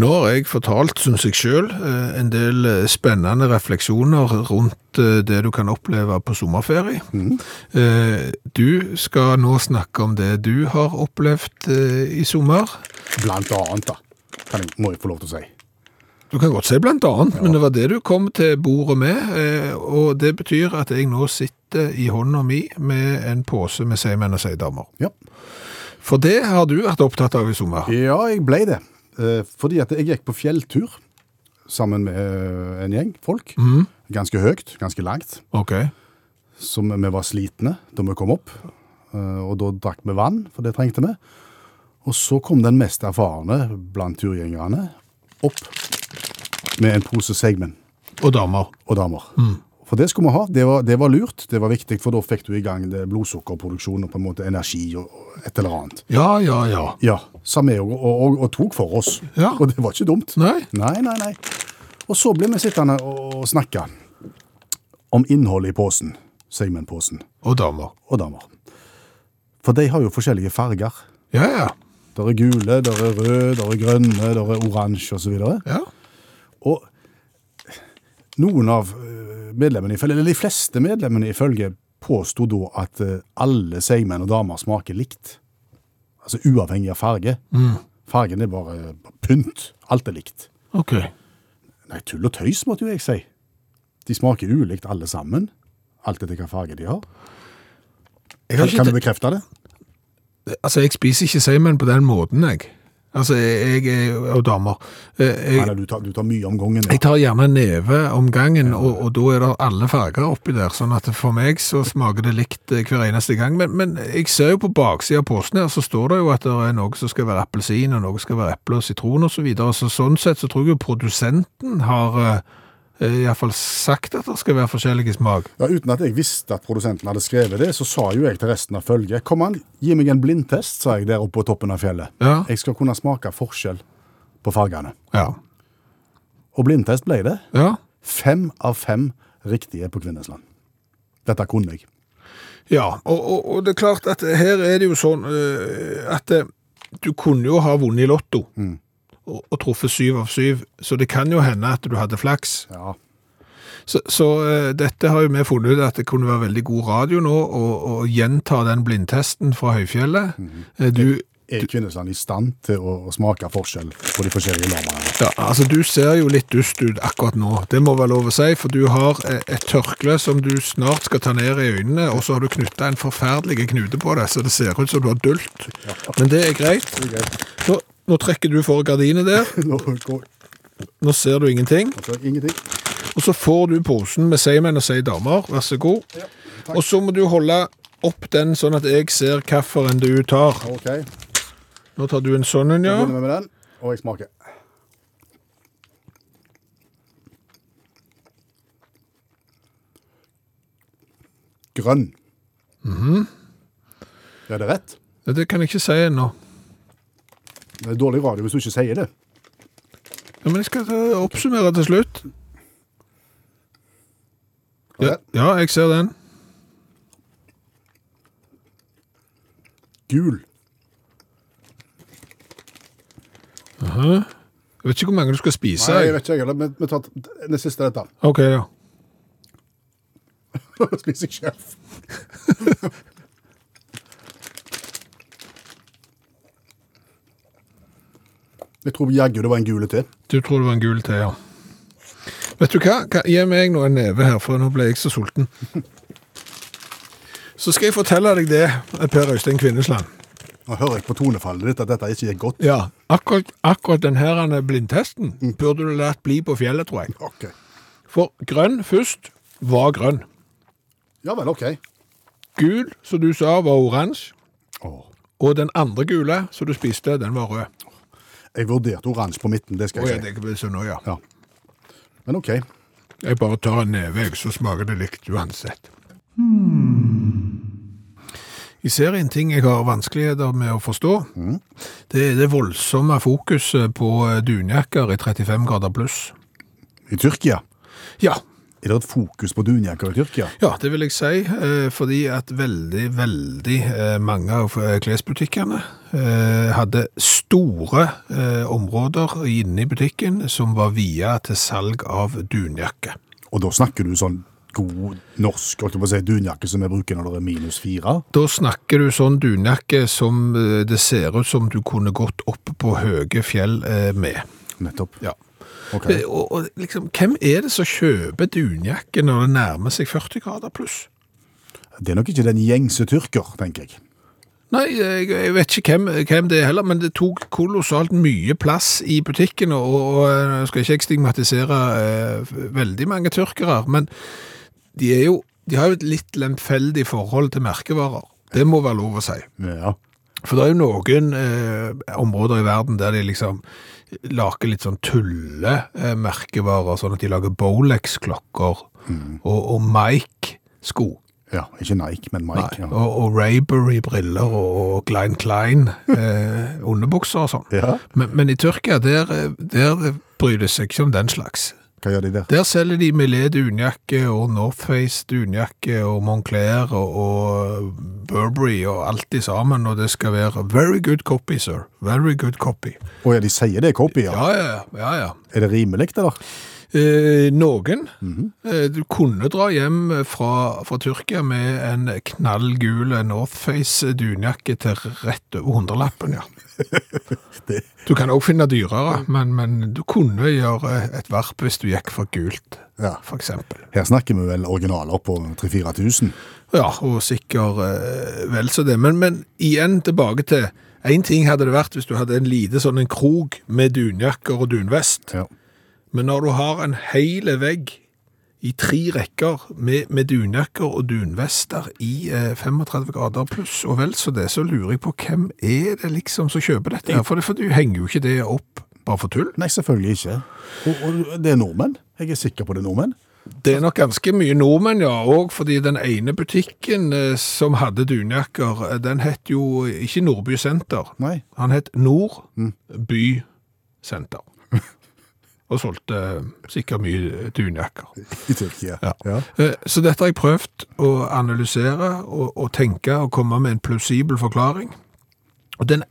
Speaker 4: Nå har jeg fortalt, syns jeg sjøl, en del eh, spennende refleksjoner rundt eh, det du kan oppleve på sommerferie. Eh, Du skal nå snakke om det du har opplevd eh, i sommer.
Speaker 3: Blant annet, da. Kan jeg, må jeg få lov til å si.
Speaker 4: Du kan godt si blant annet, men det var det du kom til bordet med. eh, Og det betyr at jeg nå sitter i hånda mi med en pose med seigmenn og seigdamer.
Speaker 3: Ja.
Speaker 4: For det har du vært opptatt av i sommer.
Speaker 3: ja, jeg ble det. Eh, Fordi at jeg gikk på fjelltur sammen med eh, en gjeng folk. Ganske høyt, ganske langt.
Speaker 4: Ok.
Speaker 3: som vi var slitne da vi kom opp. Eh, Og da drakk vi vann, for det trengte vi. Og så kom den mest erfarne blant turgjengerne opp med en pose segmen
Speaker 4: Og damer.
Speaker 3: og damer. For det skulle vi ha. Det var, det var lurt, det var viktig, for da fikk du i gang det blodsukkerproduksjon og på en måte energi og og et eller annet.
Speaker 4: Ja, ja, ja.
Speaker 3: Ja, sa vi og, og, og, og tok for oss.
Speaker 4: Ja.
Speaker 3: Og det var ikke dumt.
Speaker 4: Nei.
Speaker 3: Nei, nei, nei. Og så ble vi sittende og og snakke om innholdet i posen, segmentposen
Speaker 4: Og damer.
Speaker 3: og damer. For de har jo forskjellige farger.
Speaker 4: Ja, ja.
Speaker 3: Der er gule, der er røde, der er grønne, der er oransje osv. Og,
Speaker 4: ja.
Speaker 3: og noen av eh, medlemmene, i følge- eller de fleste medlemmene i følget, påsto da at eh, alle seigmenn og damer smaker likt. Altså uavhengig av farge.
Speaker 4: Mm.
Speaker 3: Fargen er bare pynt. Alt er likt.
Speaker 4: Ok.
Speaker 3: Nei, tull og tøys, måtte jo jeg si. De smaker ulikt alle sammen. Alt etter hvilken farge de har.
Speaker 4: Jeg, har
Speaker 3: Kan,
Speaker 4: ikke,
Speaker 3: kan du bekrefte det?
Speaker 4: altså, jeg spiser ikke seimen på den måten, jeg. Altså, jeg er jo og damer. eh, Jeg,
Speaker 3: Eller du tar, du tar mye om gangen.
Speaker 4: jeg tar gjerne en neve om gangen, og, og da er det alle farger oppi der, sånn at for meg så smaker det likt eh, hver eneste gang. Men, men jeg ser jo på baksida av posen her, så står det jo at det er noe som skal være appelsin, og noe skal være eple og sitron osv. Så videre. så sånn sett så tror jeg jo produsenten har eh, eh, i hvert fall sagt at det skal være forskjellige smak.
Speaker 3: Ja, uten at jeg visste at produsenten hadde skrevet det, så sa jo jeg til resten av følget Kom an, gi meg en blindtest, sa jeg der oppe på toppen av fjellet.
Speaker 4: Ja.
Speaker 3: Jeg skal kunne smake forskjell på fargene.
Speaker 4: Ja.
Speaker 3: Og blindtest ble det.
Speaker 4: Ja.
Speaker 3: Fem av fem riktige på Kvinnesland. Dette kunne jeg.
Speaker 4: Ja, og, og, og det er klart at her er det jo sånn eh, at eh, du kunne jo ha vunnet i lotto og, og truffet syv av syv, så det kan jo hende at du hadde flaks.
Speaker 3: Ja.
Speaker 4: Så, så eh, dette har jo vi funnet ut at det kunne være veldig god radio nå å å gjenta den blindtesten fra høyfjellet. Eh, Du,
Speaker 3: Er Kvinnesland i stand til å, å smake forskjell på de forskjellige lamaene?
Speaker 4: ja, altså, du ser jo litt dust ut akkurat nå, det må være lov å si, for du har eh, et tørkle som du snart skal ta ned i øynene, og så har du knyttet en forferdelig knute på det, så det ser ut som du har dult. Men det er greit. Nå, nå trekker du for gardinet der,
Speaker 3: Nå går
Speaker 4: nå ser du ingenting,
Speaker 3: altså, ingenting.
Speaker 4: og så får du posen med seimenn og sei damer, vær så god. og så må du holde opp den sånn at jeg ser hvilken du tar.
Speaker 3: OK, da
Speaker 4: Nå tar du en sånn en, ja.
Speaker 3: begynner vi med den, og jeg smaker. Grønn. Mhm. Er det rett?
Speaker 4: Ja, Det kan jeg ikke si ennå.
Speaker 3: Det er dårlig radio hvis du ikke sier det.
Speaker 4: Ja, men jeg skal eh, oppsummere til slutt. Ja, ja, jeg ser den.
Speaker 3: Gul.
Speaker 4: Jeg vet ikke hvor mange du skal spise.
Speaker 3: Nei, jeg
Speaker 4: jeg.
Speaker 3: vet ikke, jeg heller. men Vi tar den siste dette.
Speaker 4: Ok, ja.
Speaker 3: Spiser jeg sjef. Jeg tror jaggu det var en gule til.
Speaker 4: Du tror det var en gul te, ja. Vet du hva? Hva- Gi meg nå en neve her, for nå ble jeg så sulten. Så skal jeg fortelle deg det, Per Øystein Kvinnesland.
Speaker 3: Nå hører jeg på tonefallet ditt at dette ikke er godt.
Speaker 4: Ja, akkurat, akkurat den her denne blindtesten
Speaker 3: Mm.
Speaker 4: burde du lært bli på fjellet, tror jeg.
Speaker 3: Ok.
Speaker 4: For grønn først var grønn.
Speaker 3: Ja vel, ok.
Speaker 4: Gul, som du sa, var oransje.
Speaker 3: Åh.
Speaker 4: Og den andre gule som du spiste, den var rød.
Speaker 3: Jeg vurderte oransje på midten, det skal
Speaker 4: Å ja,
Speaker 3: jeg si.
Speaker 4: det ble så nå, ja.
Speaker 3: Ja. Men ok.
Speaker 4: Jeg bare tar en neve, jeg, så smaker det likt uansett.
Speaker 3: Hmm.
Speaker 4: Jeg ser en ting jeg har vanskeligheter med å forstå.
Speaker 3: Hmm.
Speaker 4: Det er det voldsomme fokuset på dunjakker i 35 grader pluss.
Speaker 3: I Tyrkia.
Speaker 4: Ja,
Speaker 3: Er det et fokus på dunjakker i Tyrkia?
Speaker 4: ja, det vil jeg si, eh, fordi at veldig, veldig eh, mange av eh, klesbutikkene eh, hadde store eh, områder inne i butikken som var via til salg av dunjakker.
Speaker 3: Og da snakker du sånn god norsk holdt jeg på å si, dunjakke som vi bruker når det er minus fire?
Speaker 4: Da snakker du sånn dunjakke som eh, det ser ut som du kunne gått opp på høye fjell eh, med.
Speaker 3: Nettopp.
Speaker 4: Ja.
Speaker 3: Ok.
Speaker 4: Eh, Og, og liksom, hvem er det som kjøper dunjakke når det nærmer seg 40 grader pluss?
Speaker 3: Det er nok ikke den gjengse tyrker, tenker jeg.
Speaker 4: Nei, jeg, jeg vet ikke hvem, hvem det er heller, men det tok kolossalt mye plass i butikken, og, og eh, nå skal ikke jeg stigmatisere eh, veldig mange tyrkere, men de, er jo, de har jo et litt lemfeldig forhold til merkevarer. Det må være lov å si.
Speaker 3: Ja.
Speaker 4: For det er jo noen eh, områder i verden der de liksom lager litt sånn tullemerkevarer, sånn at de lager Bolex-klokker og, og Mike-sko.
Speaker 3: Ja, ikke Nike, men Mike.
Speaker 4: Nei,
Speaker 3: Ja.
Speaker 4: Og, og Raybury-briller og, og Glein Klein eh, underbukser og sånn.
Speaker 3: ja.
Speaker 4: Men, men i Tyrkia, der, eh, der bryr det seg ikke om den slags.
Speaker 3: Hva gjør de der?
Speaker 4: Der selger de Millet dunjakke og Northface dunjakke og Moncler og, og Burberry og alt i sammen, og det skal være very good copy, sir. Very good copy.
Speaker 3: Å ja, de sier det er copy, ja.
Speaker 4: Ja, ja, ja. ja, ja.
Speaker 3: Er det rimelig, eller?
Speaker 4: Eh, noen.
Speaker 3: Mhm.
Speaker 4: eh, du kunne dra hjem fra, fra Tyrkia med en knallgul Northface dunjakke til rett over hundrelappen, ja.
Speaker 3: Det-
Speaker 4: Du kan også finne dyrere, men, men du kunne gjøre et varp hvis du gikk for gult,
Speaker 3: Ja.
Speaker 4: for eksempel.
Speaker 3: Her snakker vi vel originaler på 3000-4000.
Speaker 4: Ja, og sikker eh, vel så det. Men, men igjen tilbake til En ting hadde det vært hvis du hadde en lite sånn en krog med dunjakker og dunvest,
Speaker 3: Ja.
Speaker 4: men når du har en hele vegg i tre rekker med, med dunjakker og dunvester i eh, 35 grader pluss og vel så det, så lurer jeg på hvem er det liksom som kjøper dette her, for, det, for du henger jo ikke det opp bare for tull.
Speaker 3: Nei, selvfølgelig ikke. Og, og det er nordmenn. Jeg er sikker på det er nordmenn.
Speaker 4: Det er nok ganske mye nordmenn, ja, òg fordi den ene butikken eh, som hadde dunjakker, eh, den het jo ikke Nordby Senter.
Speaker 3: Nei.
Speaker 4: Han het Nordby Senter. Og solgte eh, sikkert mye dunjakker.
Speaker 3: I Tyrkia.
Speaker 4: Ja. Eh, Så dette har jeg prøvd å analysere og, og tenke og komme med en plausibel forklaring. Og den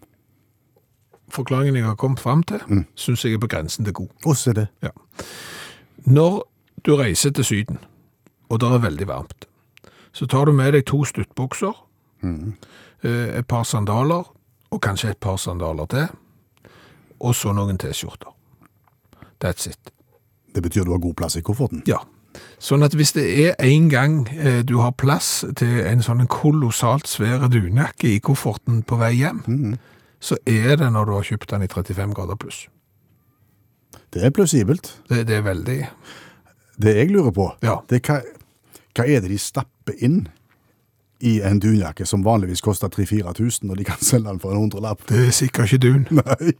Speaker 4: forklaringen jeg har kommet fram til, syns jeg er på grensen til god.
Speaker 3: Og så er det
Speaker 4: Når du reiser til syden, og det er veldig varmt, så tar du med deg to stuttbukser, eh, et par sandaler, og kanskje et par sandaler til, og så noen T-skjorter. That's it.
Speaker 3: Det betyr du har god plass i kofferten.
Speaker 4: Ja. Sånn at hvis det er en gang eh, du har plass til en sånn kolossalt svær dunjakke i kofferten på vei hjem, så er det når du har kjøpt den i 35 grader pluss.
Speaker 3: Det er plausibelt.
Speaker 4: Det, det er veldig
Speaker 3: Det jeg lurer på,
Speaker 4: Ja.
Speaker 3: det er hva, hva er det de stapper inn i en dunjakke som vanligvis koster 3000-4000, og de kan selge den for en hundrelapp?
Speaker 4: Det er sikkert ikke dun.
Speaker 3: Nei,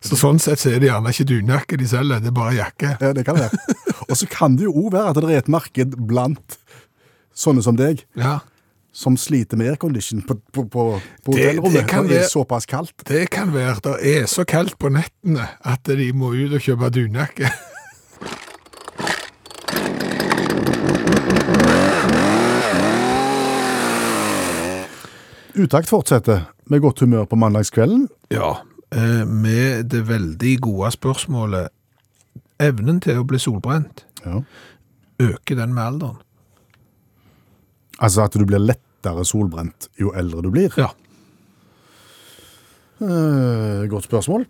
Speaker 4: Så sånn sett så er det gjerne ikke dunjakke de selger, det er bare jakke.
Speaker 3: ja, det kan være. og så kan det jo òg være at det er et marked blant sånne som deg,
Speaker 4: Ja,
Speaker 3: som sliter med aircondition på, på, på, på
Speaker 4: Det-
Speaker 3: hotellrommet.
Speaker 4: det kan
Speaker 3: når det er
Speaker 4: være-
Speaker 3: såpass kaldt.
Speaker 4: det kan være. Det er så kaldt på nettene at de må ut og kjøpe dunjakke.
Speaker 3: Utakt fortsetter med godt humør på mandagskvelden.
Speaker 4: Ja, eh, med det veldig gode spørsmålet, evnen til å bli solbrent,
Speaker 3: Ja.
Speaker 4: øker den med alderen?
Speaker 3: Altså at du blir lettere solbrent jo eldre du blir.
Speaker 4: Ja.
Speaker 3: Eh, godt spørsmål.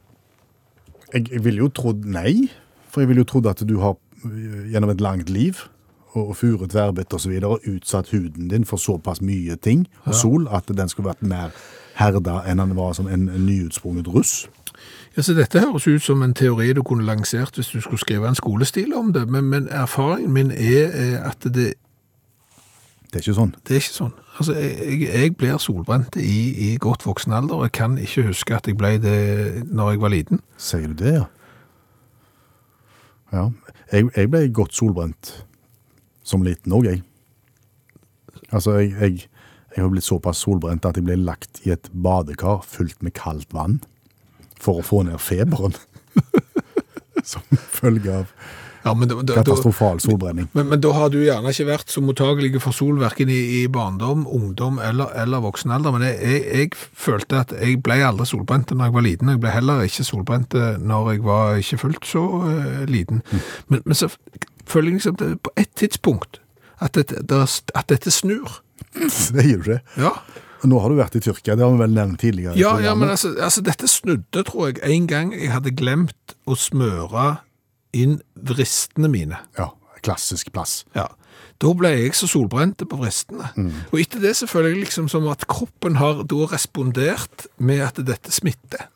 Speaker 3: Jeg, jeg ville jo trodd nei, for jeg ville jo trodd at du har eh, gjennom et langt liv og og furu, tverrbitt osv. utsatt huden din for såpass mye ting og sol at den skulle vært mer herda enn den var som en, en nyutsprunget russ.
Speaker 4: Ja, så Dette høres ut som en teori du kunne lansert hvis du skulle skrive en skolestil om det, men, men erfaringen min er eh, at det,
Speaker 3: Det er ikke sånn.
Speaker 4: det er ikke sånn. Altså, jeg, jeg- jeg blir solbrent i, i godt voksen alder, og jeg kan ikke huske at jeg ble det når jeg var liten.
Speaker 3: Sier du det, ja? Ja. Jeg, jeg ble godt solbrent som liten òg, jeg. Altså, jeg, jeg, jeg har blitt såpass solbrent at jeg ble lagt i et badekar fullt med kaldt vann for å få ned feberen. som følge av
Speaker 4: Ja, men, da, da, da,
Speaker 3: katastrofal solbrenning.
Speaker 4: men, men da har du gjerne ikke vært så mottagelig for sol, verken i, i barndom, ungdom eller, eller voksen alder. Men jeg, jeg, jeg følte at jeg ble aldri solbrent når jeg var liten. Jeg ble heller ikke solbrent eh, når jeg var ikke fullt så eh, liten. Men, men så føler jeg liksom det, på et tidspunkt at, dette- der- at dette snur.
Speaker 3: Sier du det?
Speaker 4: Ja,
Speaker 3: Nå har du vært i Tyrkia, det har vi vel nevnt tidligere. i
Speaker 4: ja, ja men
Speaker 3: programmet.
Speaker 4: altså, altså dette snudde, tror jeg, en gang jeg hadde glemt å smøre inn vristene mine.
Speaker 3: ja, klassisk plass.
Speaker 4: Ja. Da ble jeg så solbrent på vristene. Og etter det så føler jeg liksom som at kroppen har da respondert med at dette smitter.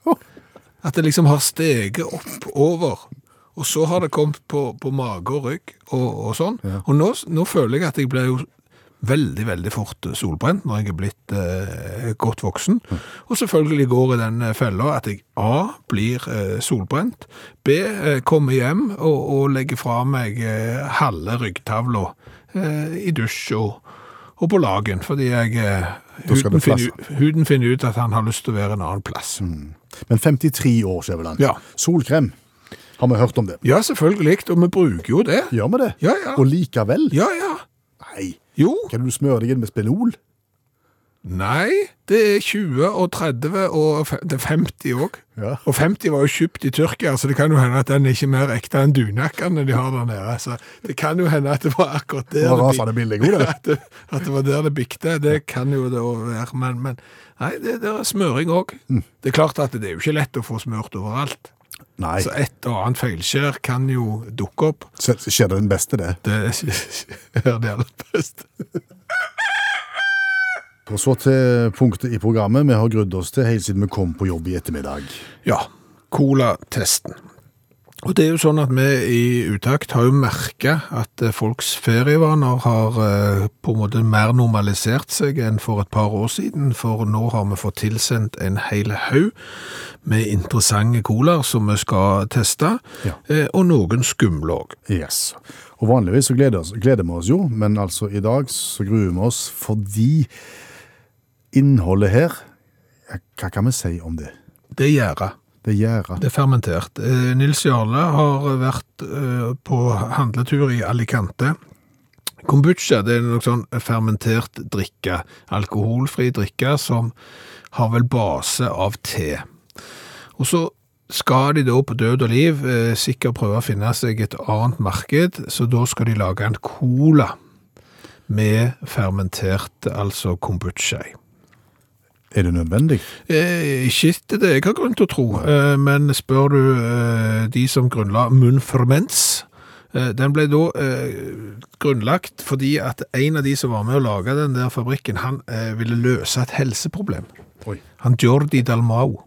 Speaker 4: At det liksom har steget opp over. Og så har det kommet på, på mage og rygg og, og sånn. Og nå, nå føler jeg at jeg blir jo veldig, veldig fort solbrent når jeg er blitt eh, godt voksen. Og selvfølgelig går i den eh, fella at jeg A. blir eh, solbrent, B. Eh, kommer hjem og, og legger fra meg eh, halve ryggtavla eh, i dusj og, og på lagen, fordi jeg eh,
Speaker 3: Da skal det
Speaker 4: huden,
Speaker 3: Mm.
Speaker 4: finner, ut- huden finner ut at han har lyst til å være en annen plass.
Speaker 3: Men 53 år, Skjæveland.
Speaker 4: Ja.
Speaker 3: Solkrem. Har vi hørt om det?
Speaker 4: Ja, selvfølgelig, og vi bruker jo det.
Speaker 3: Gjør vi det?
Speaker 4: Ja, ja.
Speaker 3: Og likevel?
Speaker 4: Ja, ja.
Speaker 3: Nei.
Speaker 4: Jo.
Speaker 3: Kan du smøre deg inn med spenol?
Speaker 4: Nei, det er 20 og 30 og fe- det er 50 òg.
Speaker 3: Ja.
Speaker 4: Og 50 var jo kjøpt i Tyrkia, så det kan jo hende at den er ikke mer ekte enn dunjakkene de har der nede. Så det kan jo hende at det var akkurat der
Speaker 3: Det var
Speaker 4: bik-
Speaker 3: rasende billig, jo, det.
Speaker 4: at, det, at det var der det bikte. Det kan jo det også være, men, men nei, det, det er smøring òg.
Speaker 3: Mm.
Speaker 4: Det er klart at det er jo ikke lett å få smurt overalt.
Speaker 3: Nei,
Speaker 4: Så et og annet feilskjær kan jo dukke opp.
Speaker 3: så så skjer det den beste det.
Speaker 4: Det er det aller beste.
Speaker 3: Og så til punktet i programmet vi har grudd oss til helt siden vi kom på jobb i ettermiddag.
Speaker 4: Ja, colatesten. Og det er jo sånn at vi i Utakt har jo merket at eh, folks ferievaner har eh, på en måte mer normalisert seg enn for et par år siden, for nå har vi fått tilsendt en hel haug med interessante colaer som vi skal teste,
Speaker 3: Ja.
Speaker 4: eh, og noen skumle òg.
Speaker 3: Yes. Og vanligvis så gleder, oss, gleder vi oss jo, men altså i dag så gruer vi oss fordi innholdet her ja, Hva kan vi si om det?
Speaker 4: Det gjør jeg.
Speaker 3: Det gjør at
Speaker 4: Det er fermentert. Eh, Nils Jarle har vært eh, på handletur i Alicante. Kombucha det er noe sånn fermentert drikke, alkoholfri drikke, som har vel base av te. Og så skal de da på død og liv eh, sikkert prøve å finne seg et annet marked, så da skal de lage en cola med fermentert, altså kombucha i.
Speaker 3: Er det nødvendig?
Speaker 4: Eh, Ikke etter det jeg har grunn til å tro, eh, men spør du eh, de som grunnla Munnferments eh, Den ble da eh, grunnlagt fordi at en av de som var med å lage den der fabrikken, han eh, ville løse et helseproblem.
Speaker 3: Oi.
Speaker 4: Han Jordi Dalmau.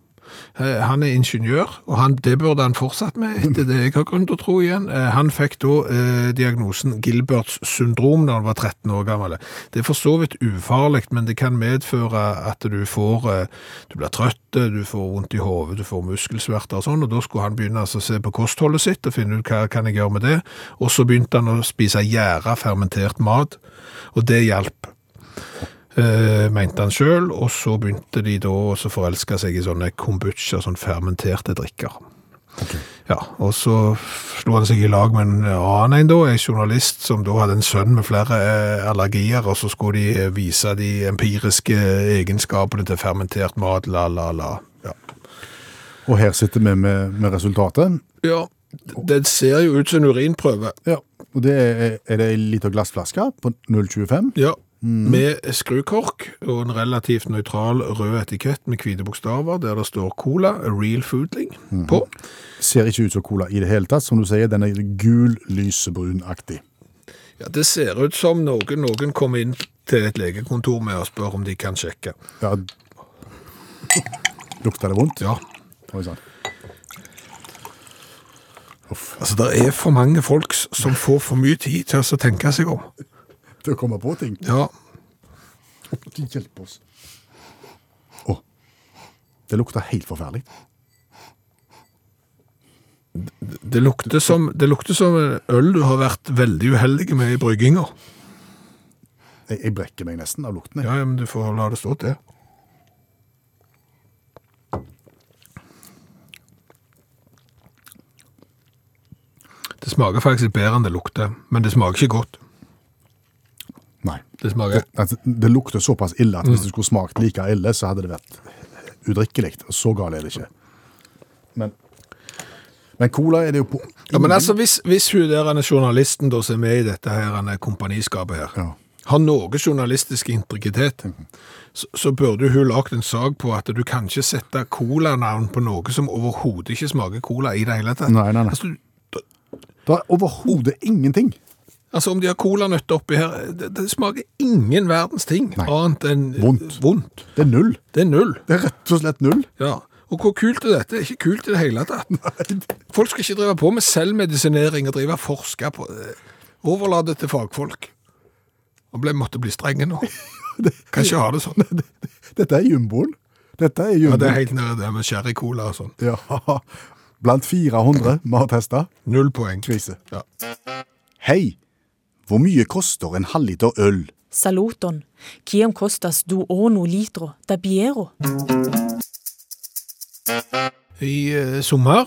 Speaker 4: Eh, Han er ingeniør, og han, det burde han fortsatt med, etter det jeg har grunn til å tro igjen. Eh, Han fikk da eh, diagnosen Gilberts syndrom da han var 13 år gammel. Det er for så vidt ufarlig, men det kan medføre at du får eh, Du blir trøtt, eh, du får vondt i hodet, du får muskelsmerter og sånn, og da skulle han begynne altså, å se på kostholdet sitt og finne ut hva kan jeg gjøre med det. Og så begynte han å spise gjæra fermentert mat, og det hjalp eh, mente han sjøl, og så begynte de da å forelske seg i sånne kombucha, sånn fermenterte drikker. Ja, og så slo han seg i lag med en annen en da, en journalist som da hadde en sønn med flere eh, allergier, og så skulle de eh, vise de empiriske egenskapene til fermentert mat, la la la. Ja.
Speaker 3: Og her sitter vi med, med resultatet.
Speaker 4: ja, den ser jo ut som en urinprøve.
Speaker 3: Ja. Og det er, er det ei lita glassflaske på 0,25.
Speaker 4: Ja, med skrukork og en relativt nøytral rød etikett med hvite bokstaver, der det står cola, a real foodling, på.
Speaker 3: Ser ikke ut som cola i det hele tatt. Som du sier, den er gul, lysebrunaktig.
Speaker 4: Ja, Det ser ut som noen, noen kom inn til et legekontor med og spør om de kan sjekke.
Speaker 3: Ja. Lukter det vondt?
Speaker 4: Ja,
Speaker 3: Oi sann.
Speaker 4: altså Det er for mange folk s- som får for mye tid til å tenke seg om.
Speaker 3: Til å komme på ting.
Speaker 4: Ja,
Speaker 3: De hjelper oss. Å. Det lukter helt forferdelig.
Speaker 4: Det lukter som, det lukter som en øl du har vært veldig uheldig med i brygginga.
Speaker 3: Jeg, jeg brekker meg nesten av lukten. jeg.
Speaker 4: Ja, ja, men du får la det stå til. Det smaker faktisk bedre enn det lukter, men det smaker ikke godt.
Speaker 3: Nei.
Speaker 4: Det smaker
Speaker 3: At det lukter såpass ille at hvis det skulle smakt like ille, så hadde det vært udrikkelig. Så gal er det ikke. Men, men cola er det jo på
Speaker 4: Ja, men altså, hvis, hvis hun der han er journalisten da, som er med i dette her, han er kompaniskapet her,
Speaker 3: Ja.
Speaker 4: har noe journalistisk integritet, så, så burde hun lagt en sag på at du kan ikke sette cola-navn på noe som overhodet ikke smaker cola i det hele tatt.
Speaker 3: Nei, nei, nei.
Speaker 4: Altså, du-
Speaker 3: Det er overhodet ingenting.
Speaker 4: altså om de har colanøtter oppi her, det, det smaker ingen verdens ting
Speaker 3: Nei.
Speaker 4: annet enn
Speaker 3: Vondt.
Speaker 4: vondt.
Speaker 3: Det er null.
Speaker 4: Det er null.
Speaker 3: Det er rett og slett null.
Speaker 4: Ja. Og hvor kult er dette? Det er ikke kult i det hele tatt. Folk skal ikke drive på med selvmedisinering og drive og forske på det. Overla det til fagfolk. Og ble, måtte bli strenge nå. Kan ikke ha det sånn.
Speaker 3: Dette er jumboen. Dette er
Speaker 4: Ja,
Speaker 3: jumboen.
Speaker 4: det er helt nede der med sherrycola og sånn.
Speaker 3: Ja. Blant 400 vi har testa.
Speaker 4: Null poeng.
Speaker 3: Krise.
Speaker 4: Ja.
Speaker 3: Hei, hvor mye koster en halvliter øl?
Speaker 7: Saluton, kiam costas du ono litro da biero?
Speaker 4: I eh, sommer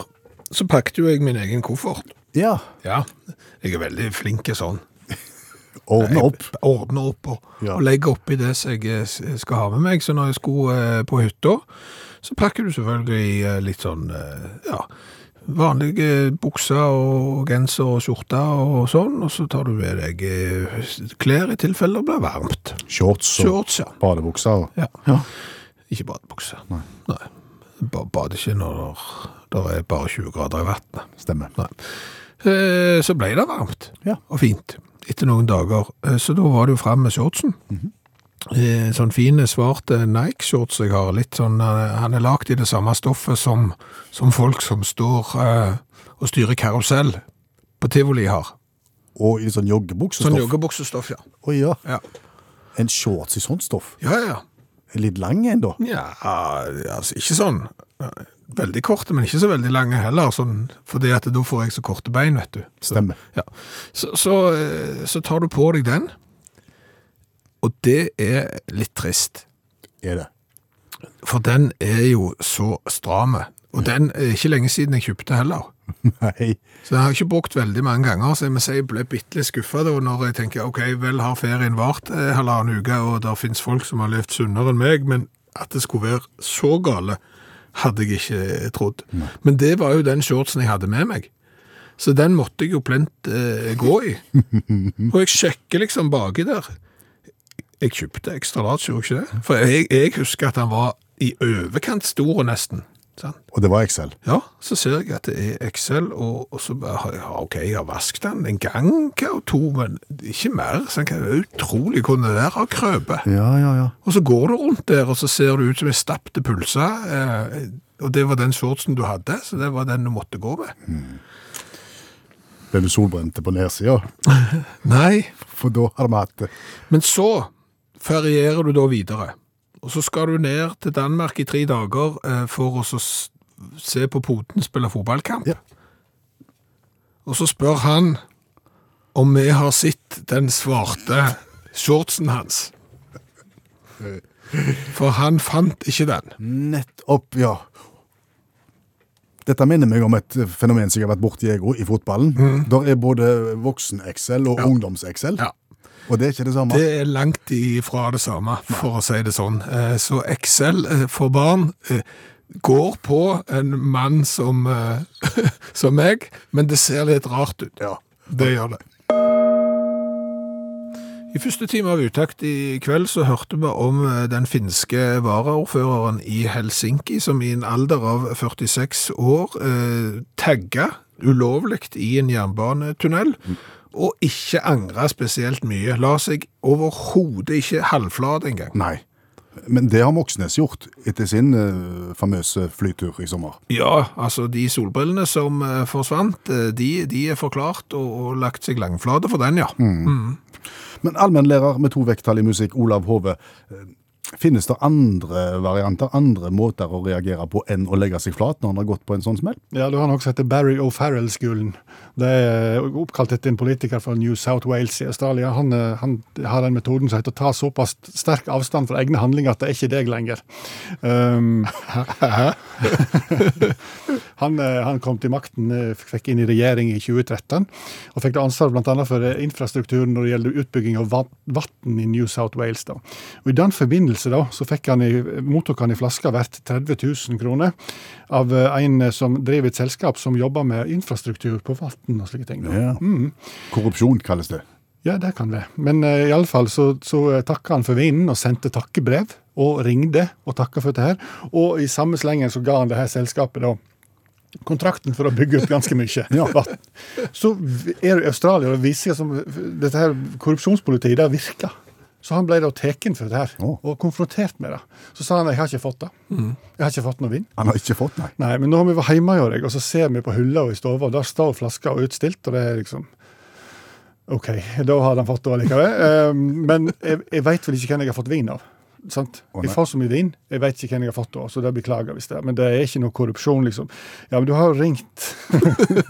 Speaker 4: så pakket jo jeg min egen koffert.
Speaker 3: Ja,
Speaker 4: Ja, jeg er veldig flink i sånn.
Speaker 3: ordne opp.
Speaker 4: ordne opp og,
Speaker 3: Ja.
Speaker 4: og legge opp i det som jeg eh, s- skal ha med meg. Så når jeg skulle eh, på hytta, så pakker du selvfølgelig eh, litt sånn, eh, ja, vanlige bukser og genser og skjorter og sånn, og så tar du med deg eh, s- klær i tilfelle det blir varmt.
Speaker 3: Shorts og
Speaker 4: Shorts, ja.
Speaker 3: badebukser.
Speaker 4: Ja.
Speaker 3: Ja.
Speaker 4: Ikke badebukse. Nei. Ba- Bad ikke når det er bare 20 grader i vannet.
Speaker 3: Stemmer.
Speaker 4: Nei. Eh, Så ble det varmt
Speaker 3: Ja.
Speaker 4: og fint etter noen dager. Eh, Så da var det jo fram med shortsen. eh, sånn fine svarte Nike-shorts jeg har. Litt sånn, eh, han er lagd i det samme stoffet som, som folk som står eh, og styrer karusell på tivoli har.
Speaker 3: Og i sånn joggebuksestoff.
Speaker 4: Sånn joggebuksestoff, ja.
Speaker 3: Å ja.
Speaker 4: Ja,
Speaker 3: En shorts i sånt stoff.
Speaker 4: ja, ja.
Speaker 3: Litt lang en, da.
Speaker 4: ja altså, ikke sånn eh, veldig korte, men ikke så veldig lange heller, sånn, fordi at da får jeg så korte bein, vet du.
Speaker 3: Stemmer.
Speaker 4: Ja. Så, så, eh, så tar du på deg den, og det er litt trist.
Speaker 3: Er det.
Speaker 4: For den er jo så strame. Og den er ikke lenge siden jeg kjøpte heller.
Speaker 3: Nei.
Speaker 4: Så den har jeg ikke brukt veldig mange ganger, så jeg må si jeg ble bitte litt skuffa da når jeg tenker ok, vel har ferien vart eh, halvannen uke, og der fins folk som har levd sunnere enn meg, men at det skulle være så gale, hadde jeg ikke eh, trodd. Men det var jo den shortsen jeg hadde med meg. Så den måtte jeg jo plent eh, gå i. Og jeg sjekker liksom baki der. Jeg kjøpte ekstra large, gjorde jeg ikke det? For jeg, jeg husker at han var i overkant stor, nesten. sant?
Speaker 3: Og det var Excel.
Speaker 4: Ja, så ser jeg at det er Excel, og, og så bare, ja, ok, jeg har vasket den en gang og to, men ikke mer, så det er utrolig hvordan det der har krøpet.
Speaker 3: Ja, ja, ja.
Speaker 4: Og så går du rundt der, og så ser du ut som en stappte pulsa, eh, og det var den shortsen du hadde, så det var den du måtte gå med.
Speaker 3: Ble du solbrente på nedsida?
Speaker 4: Nei,
Speaker 3: For da har vi hatt det.
Speaker 4: men så ferierer du da videre, og så skal du ned til Danmark i tre dager eh, for å så s- se på poten spille fotballkamp.
Speaker 3: Ja.
Speaker 4: Og så spør han om vi har sett den svarte shortsen hans. For han fant ikke den.
Speaker 3: Nettopp, ja. Dette minner meg om et fenomen som jeg har vært borti jeg òg, i fotballen. Der er både voksen-Excel og ungdoms-Excel.
Speaker 4: Mm. Ja.
Speaker 3: Og det er ikke det samme.
Speaker 4: Det er langt ifra det samme, for å si det sånn. Eh, Så Excel eh, for barn eh, går på en mann som, eh, som meg, men det ser litt rart ut. Ja, det gjør det. I første time av Utakt i kveld så hørte vi om eh, den finske varaordføreren i Helsinki, som i en alder av 46 år eh, tagga ulovlig i en jernbanetunnel, og ikke angra spesielt mye. La seg overhodet ikke halvflat engang.
Speaker 3: Nei. Men det har Moxnes gjort etter sin eh, famøse flytur i sommer.
Speaker 4: Ja, altså de solbrillene som eh, forsvant, eh, de, de er forklart og, og lagt seg langflate for den, ja.
Speaker 3: Men allmennlærer med to vekttall i musikk, Olav Hove. eh, Finnes det andre varianter, andre måter å reagere på enn å legge seg flat når en har gått på en sånn smell?
Speaker 6: Ja, Du har noe som heter Barry O'Farrell-skolen. Det er eh, oppkalt etter en politiker fra New South Wales i Australia. Han, eh, han har den metoden som heter å ta såpass sterk avstand fra egne handlinger at det er ikke deg lenger. Um, han, eh, han kom til makten, eh, fikk inn i regjering i 2013, og fikk da ansvar bl.a. for eh, infrastrukturen når det gjelder utbygging av va- vann i New South Wales. da. Og I den forbindelse da, så fikk han i, mottok han i flaska verdt 30 000 kroner av eh, en som driver et selskap som jobber med infrastruktur på vann og slike ting. da.
Speaker 3: Ja. Mm. Korrupsjon kalles det.
Speaker 6: Ja, det kan det. Men eh, i alle fall så, så eh, takka han for vinen og sendte takkebrev. Og ringte og takka for dette her. Og i samme slengen så ga han det her selskapet da kontrakten for å bygge ut ganske mye. vatten. Så v- er det i Australia og det viser seg som dette her korrupsjonspolitiet det virker. Så han ble da tatt for dette her,
Speaker 3: Å.
Speaker 6: og konfrontert med det. Så sa han jeg har ikke fått det. Jeg har ikke fått noe vin.
Speaker 3: Han har ikke fått, nei.
Speaker 6: Nei, men nå har vi vært hjemme hos deg, og så ser vi på hylla og i stua, og der står flaska utstilt, og det er liksom OK, da har den fått det allikevel. Um, men jeg, jeg veit vel ikke hvem jeg har fått vin av. Sant?
Speaker 3: Å,
Speaker 6: jeg
Speaker 3: nei.
Speaker 6: får så mye vin, jeg veit ikke hvem jeg har fått det av, så det beklager jeg hvis det er. Men det er ikke noe korrupsjon, liksom. Ja, men du har ringt,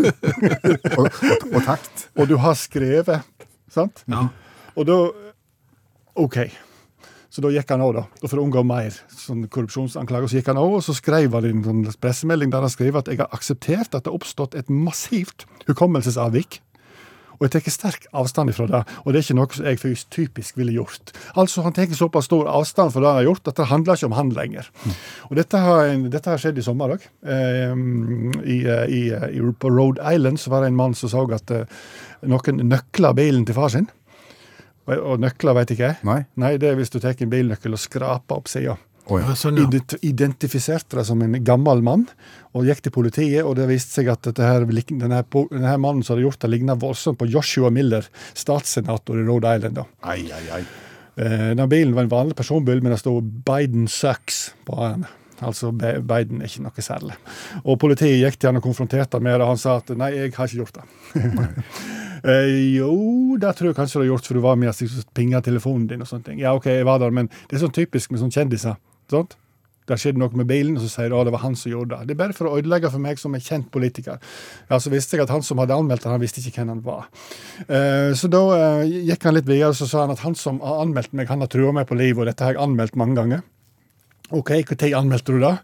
Speaker 3: Og, og, og takt.
Speaker 6: og du har skrevet, sant?
Speaker 4: Ja.
Speaker 6: Og da OK. Så da gikk han òg, da. Og for å unngå mer sånn korrupsjonsanklager, så gikk han òg, og så skrev han i en sånn pressemelding der han skrev at jeg har akseptert at det har oppstått et massivt hukommelsesavvik. Og jeg tar sterk avstand ifra det, og det er ikke noe som jeg fysisk typisk ville gjort. Altså, Han tar såpass stor avstand fra det han har gjort, at det handler ikke om han lenger. Og Dette har, dette har skjedd i sommer òg. I, eh, i, eh, i, på Rhode Island så var det en mann som så at eh, noen nøkla bilen til far sin. Og, og nøkler vet ikke jeg.
Speaker 3: Nei.
Speaker 6: Nei, det er hvis du tar en bilnøkkel og skraper opp sida.
Speaker 3: Å ja.
Speaker 4: Sånn, ja.
Speaker 6: Ident- Identifiserte det som en gammel mann, og gikk til politiet. og Det viste seg at dette her, lik- denne, her po- denne her mannen som hadde gjort det, lignet voldsomt på Joshua Miller, statssenator i Rhode Island. da.
Speaker 3: Ai, ai, ai.
Speaker 6: Eh, Den bilen var en vanlig personbil, men det stod 'Biden sucks' på den. Altså Be- Biden er ikke noe særlig. Og politiet gikk til han og konfronterte han med det, og han sa at 'nei, jeg har ikke gjort det'. Eh, jo, det tror jeg kanskje du har gjort, for du var med og pinga telefonen din. og sånne ting. Ja, ok, jeg var der, men det er sånn typisk med sånne kjendiser. sant? Det skjedde noe med bilen, og så sier du at det var han som gjorde det. Det er bare for å ødelegge for meg som en kjent politiker. Ja, Så visste jeg at han som hadde anmeldt det, han visste ikke hvem han var. Eh, Så da eh, gikk han litt videre, så sa han at han som har anmeldt meg, han har trua meg på livet, og dette har jeg anmeldt mange ganger. OK, når anmeldte du det?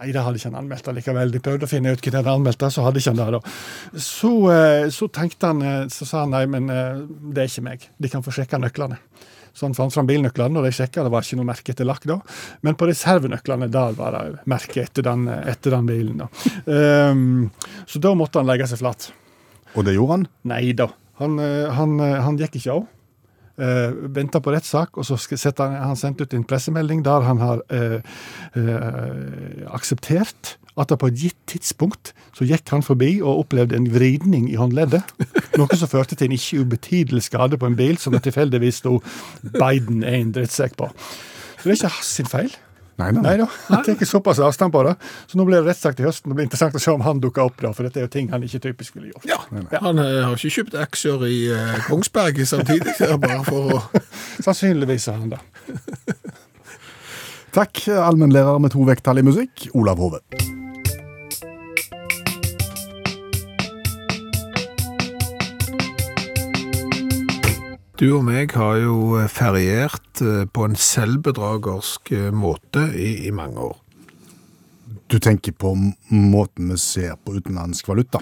Speaker 6: Nei, det hadde ikke han anmeldt likevel. De prøvde å finne ut hvem han anmeldte, så hadde ikke han det. da. Så, eh, så tenkte han, eh, så sa han nei, men eh, det er ikke meg. De kan få sjekka nøklene. Så han fant fram bilnøklene, og de sjekka, det var ikke noe merke etter lakk da. Men på reservenøklene, der var det merke etter den, eh, etter den bilen. da. Ehm, så da måtte han legge seg flatt.
Speaker 3: Og det gjorde han.
Speaker 6: Nei da. Han, eh, han, eh, han gikk ikke av. Uh, Venta på rettssak, og så sk- sette han, han sendte ut en pressemelding der han har eh, eh, akseptert at det på et gitt tidspunkt så gikk han forbi og opplevde en vridning i håndleddet. Noe som førte til en ikke ubetydelig skade på en bil som det tilfeldigvis sto 'Biden er en drittsekk' på. Så det er ikke hans sin feil.
Speaker 3: Nei, nei,
Speaker 6: Nei
Speaker 3: nei.
Speaker 6: da, han tar såpass avstand på det. Så nå blir det rettssak til høsten. Det blir interessant å se om han dukker opp, da, for dette er jo ting han ikke typisk ville gjort.
Speaker 4: Ja, han eh, har ikke kjøpt aksjer i eh, Kongsberg samtidig, det er bare for å
Speaker 6: Sannsynligvis er han det.
Speaker 3: Takk, allmennlærer med to vekttall i musikk, Olav Hove.
Speaker 4: Du og meg har jo feriert eh, på en selvbedragersk eh, måte i, i mange år.
Speaker 3: Du tenker på m- måten vi ser på utenlandsk valuta.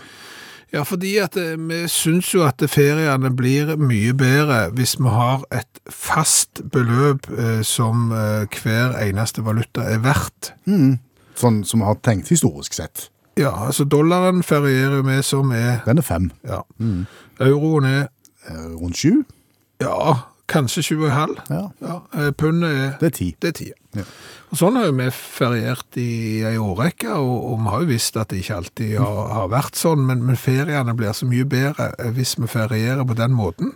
Speaker 4: Ja, fordi at eh, vi syns jo at feriene blir mye bedre hvis vi har et fast beløp eh, som eh, hver eneste valuta er verdt.
Speaker 3: Sånn som vi har tenkt historisk sett.
Speaker 4: Ja, altså dollaren ferierer vi som er
Speaker 3: Den er fem.
Speaker 4: ja.
Speaker 3: Mm.
Speaker 4: Euroen er
Speaker 3: Eh, Rundt sju?
Speaker 4: ja, kanskje 7,5.
Speaker 3: Ja.
Speaker 4: Ja, eh, pundet er
Speaker 3: Det er ti.
Speaker 4: Det er ti.
Speaker 3: Ja.
Speaker 4: Og sånn har jo vi feriert i ei årrekke, og, og vi har jo visst at det ikke alltid har, har vært sånn, men, men feriene blir så mye bedre eh, hvis vi ferierer på den måten.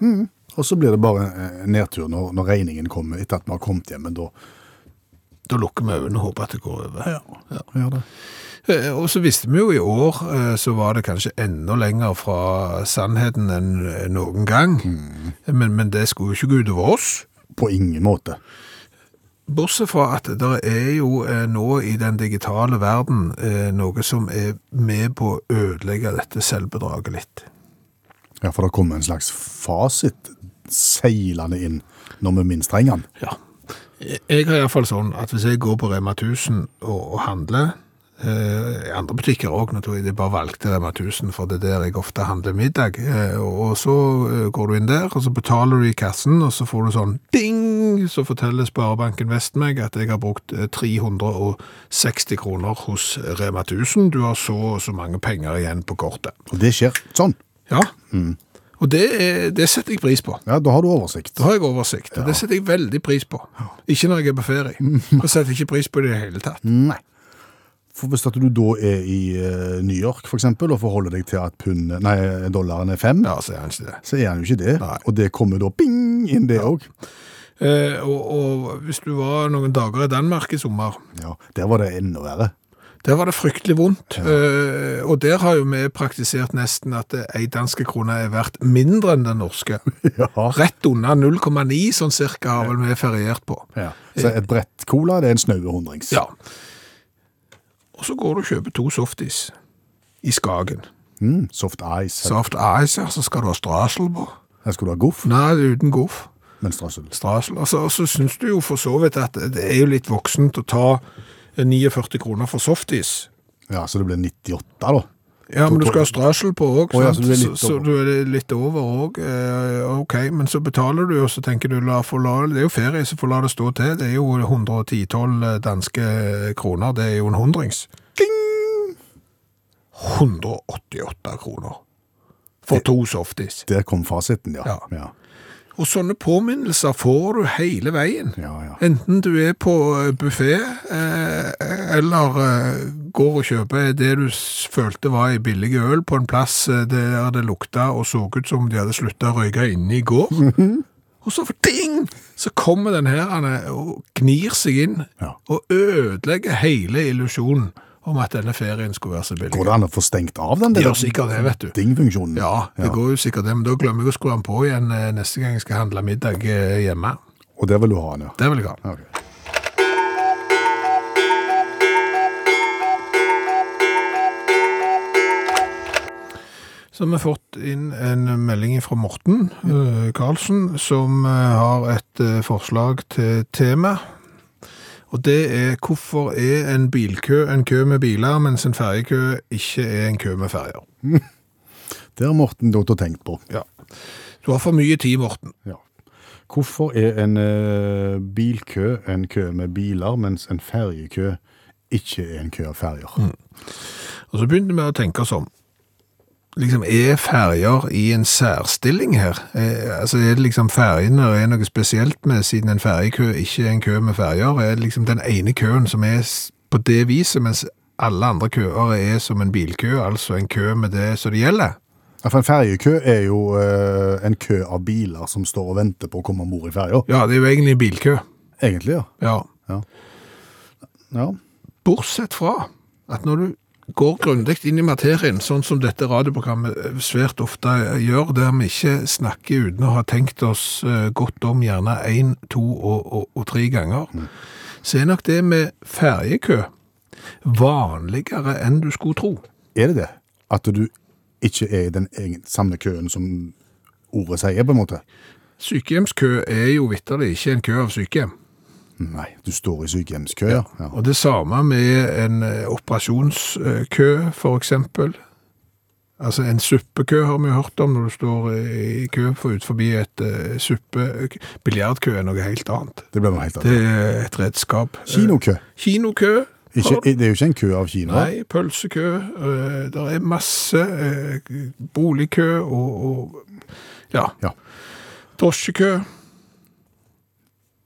Speaker 3: Og så blir det bare eh, nedtur når, når regningen kommer etter at vi har kommet hjem. Men da
Speaker 4: Da lukker vi øynene og håper at det går over.
Speaker 3: gjør det.
Speaker 4: Eh, Og så visste vi jo i år, eh, så var det kanskje enda lenger fra sannheten enn eh, noen gang.
Speaker 3: Mm.
Speaker 4: Men, men det skulle jo ikke gå utover oss.
Speaker 3: På ingen måte.
Speaker 4: Bortsett fra at det er jo eh, nå i den digitale verden eh, noe som er med på å ødelegge dette selvbedraget litt.
Speaker 3: Ja, For det kommer en slags fasit seilende inn når vi minst trenger den.
Speaker 4: Ja. Jeg har iallfall sånn at hvis jeg går på Rema 1000 og, og handler eh, i andre butikker òg, naturlig, jeg bare valgte Rema 1000, for det er der jeg ofte handler middag. Eh, og, og så eh, går du inn der, og så betaler du i kassen, og så får du sånn ding! Så forteller Sparebanken Vest meg at jeg har brukt eh, 360 kroner hos Rema 1000. Du har så og så mange penger igjen på kortet.
Speaker 3: Og det skjer sånn.
Speaker 4: Ja. Og det, er- det setter jeg pris på.
Speaker 3: Ja, Da har du oversikt.
Speaker 4: Da har jeg oversikt, og det setter jeg veldig pris på. Ikke når jeg er på ferie. Da setter jeg ikke pris på det i det hele tatt.
Speaker 3: Nei. For Hvis at du da er i eh, New York for eksempel, og forholder deg til at pund, nei, dollaren er fem,
Speaker 4: Ja, så er han ikke det.
Speaker 3: så er han jo ikke det.
Speaker 4: Nei.
Speaker 3: Og det kommer da bing inn, det òg.
Speaker 4: Eh, og, og hvis du var noen dager i Danmark i sommer,
Speaker 3: Ja. Der var det enda verre.
Speaker 4: der var det fryktelig vondt. Eh, og der har jo vi praktisert nesten at eh, ei danske krone er verdt mindre enn den norske.
Speaker 3: Ja.
Speaker 4: Rett unna 0,9 sånn cirka har vel vi feriert på.
Speaker 3: Ja. Så et brett cola det er en snaue hundrings.
Speaker 4: Ja. Og så går du og kjøper to softis i Skagen.
Speaker 3: Mm, soft ice.
Speaker 4: Soft ice, ja, så skal du ha strasel på.
Speaker 3: Her skulle du ha goff,
Speaker 4: Nei, det er uten goff.
Speaker 3: men strassel.
Speaker 4: strasel. Og så, og så syns du jo for så vidt at det er jo litt voksent å ta 49 kroner for softis.
Speaker 3: Ja, så det blir 98, da.
Speaker 4: Ja, men du skal ha strasel på òg,
Speaker 3: Å ja, så
Speaker 4: så,
Speaker 3: du er litt over.
Speaker 4: så, du er litt over òg. Eh, ok, men så betaler du, og så tenker du la, få la, Det er jo ferie, så får la det stå til. Det er jo 110-12 eh, danske kroner. Det er jo en hundrings. 188 kroner for to softis.
Speaker 3: Der kom fasiten, ja.
Speaker 4: Ja.
Speaker 3: Ja,
Speaker 4: Og sånne påminnelser får du hele veien.
Speaker 3: ja. ja.
Speaker 4: Enten du er på buffé, eh, eller eh, går og kjøper det du s- følte var en billig øl på en plass eh, der det lukta og så ut som de hadde slutta å røyke inne i går. Og så for ding, så kommer den her han er, og gnir seg inn
Speaker 3: Ja.
Speaker 4: og ødelegger hele illusjonen om at denne ferien skulle være så billig.
Speaker 3: Går det an å få stengt av den
Speaker 4: Det
Speaker 3: der
Speaker 4: gjør sikkert det, vet du.
Speaker 3: dingfunksjonen?
Speaker 4: Ja, det
Speaker 3: Ja.
Speaker 4: går jo sikkert det, men da glemmer jeg å skru den på igjen eh, neste gang jeg skal handle middag eh, hjemme.
Speaker 3: Og der vil du ha den, ja.
Speaker 4: Det vil jeg ha.
Speaker 3: Ok.
Speaker 4: Så har vi fått inn en melding fra Morten eh, Karlsen, som eh, har et eh, forslag til tema. Og det er hvorfor er en bilkø en kø med biler, mens en ferjekø ikke er en kø med ferjer?
Speaker 3: Det har Morten Dotter tenkt på.
Speaker 4: Ja. Du har for mye tid, Morten.
Speaker 3: Ja. Hvorfor er en eh, bilkø en kø med biler, mens en ferjekø ikke er en kø av ferjer?
Speaker 4: Og så begynte vi å tenke oss om. Liksom, er ferger i en særstilling her? Eh, altså, er det liksom fergene det er noe spesielt med, siden en ferjekø ikke er en kø med ferger? Er det liksom den ene køen som er s- på det viset, mens alle andre køer er som en bilkø, altså en kø med det som det gjelder?
Speaker 3: Ja, for en ferjekø er jo eh, en kø av biler som står og venter på å komme om bord i ferja.
Speaker 4: Ja, det er jo egentlig en bilkø.
Speaker 3: Egentlig, ja.
Speaker 4: Ja.
Speaker 3: ja.
Speaker 4: Bortsett fra at når du går grundig inn i materien, sånn som dette radioprogrammet eh, svært ofte gjør, der vi ikke snakker uten å ha tenkt oss eh, godt om gjerne én, to og, og, og tre ganger, så er nok det med ferjekø vanligere enn du skulle tro.
Speaker 3: Er det det? At du ikke er i den egen, samme køen som ordet sier, på en måte?
Speaker 4: Sykehjemskø er jo vitterlig ikke en kø av sykehjem.
Speaker 3: Nei, du står i sykehjemskø, ja. ja.
Speaker 4: Og det samme med en eh, operasjonskø, for eksempel. Altså en suppekø har vi jo hørt om når du står eh, i kø for ut forbi et eh, suppe... Biljardkø er noe helt annet.
Speaker 3: Det ble noe helt
Speaker 4: Det
Speaker 3: annet.
Speaker 4: er et redskap.
Speaker 3: Kinokø.
Speaker 4: Eh, Kinokø.
Speaker 3: Ikke,
Speaker 4: har-
Speaker 3: det er jo ikke en kø av kinoer.
Speaker 4: Nei, pølsekø. eh, Det er masse eh, boligkø og, og ja.
Speaker 3: Ja.
Speaker 4: drosjekø.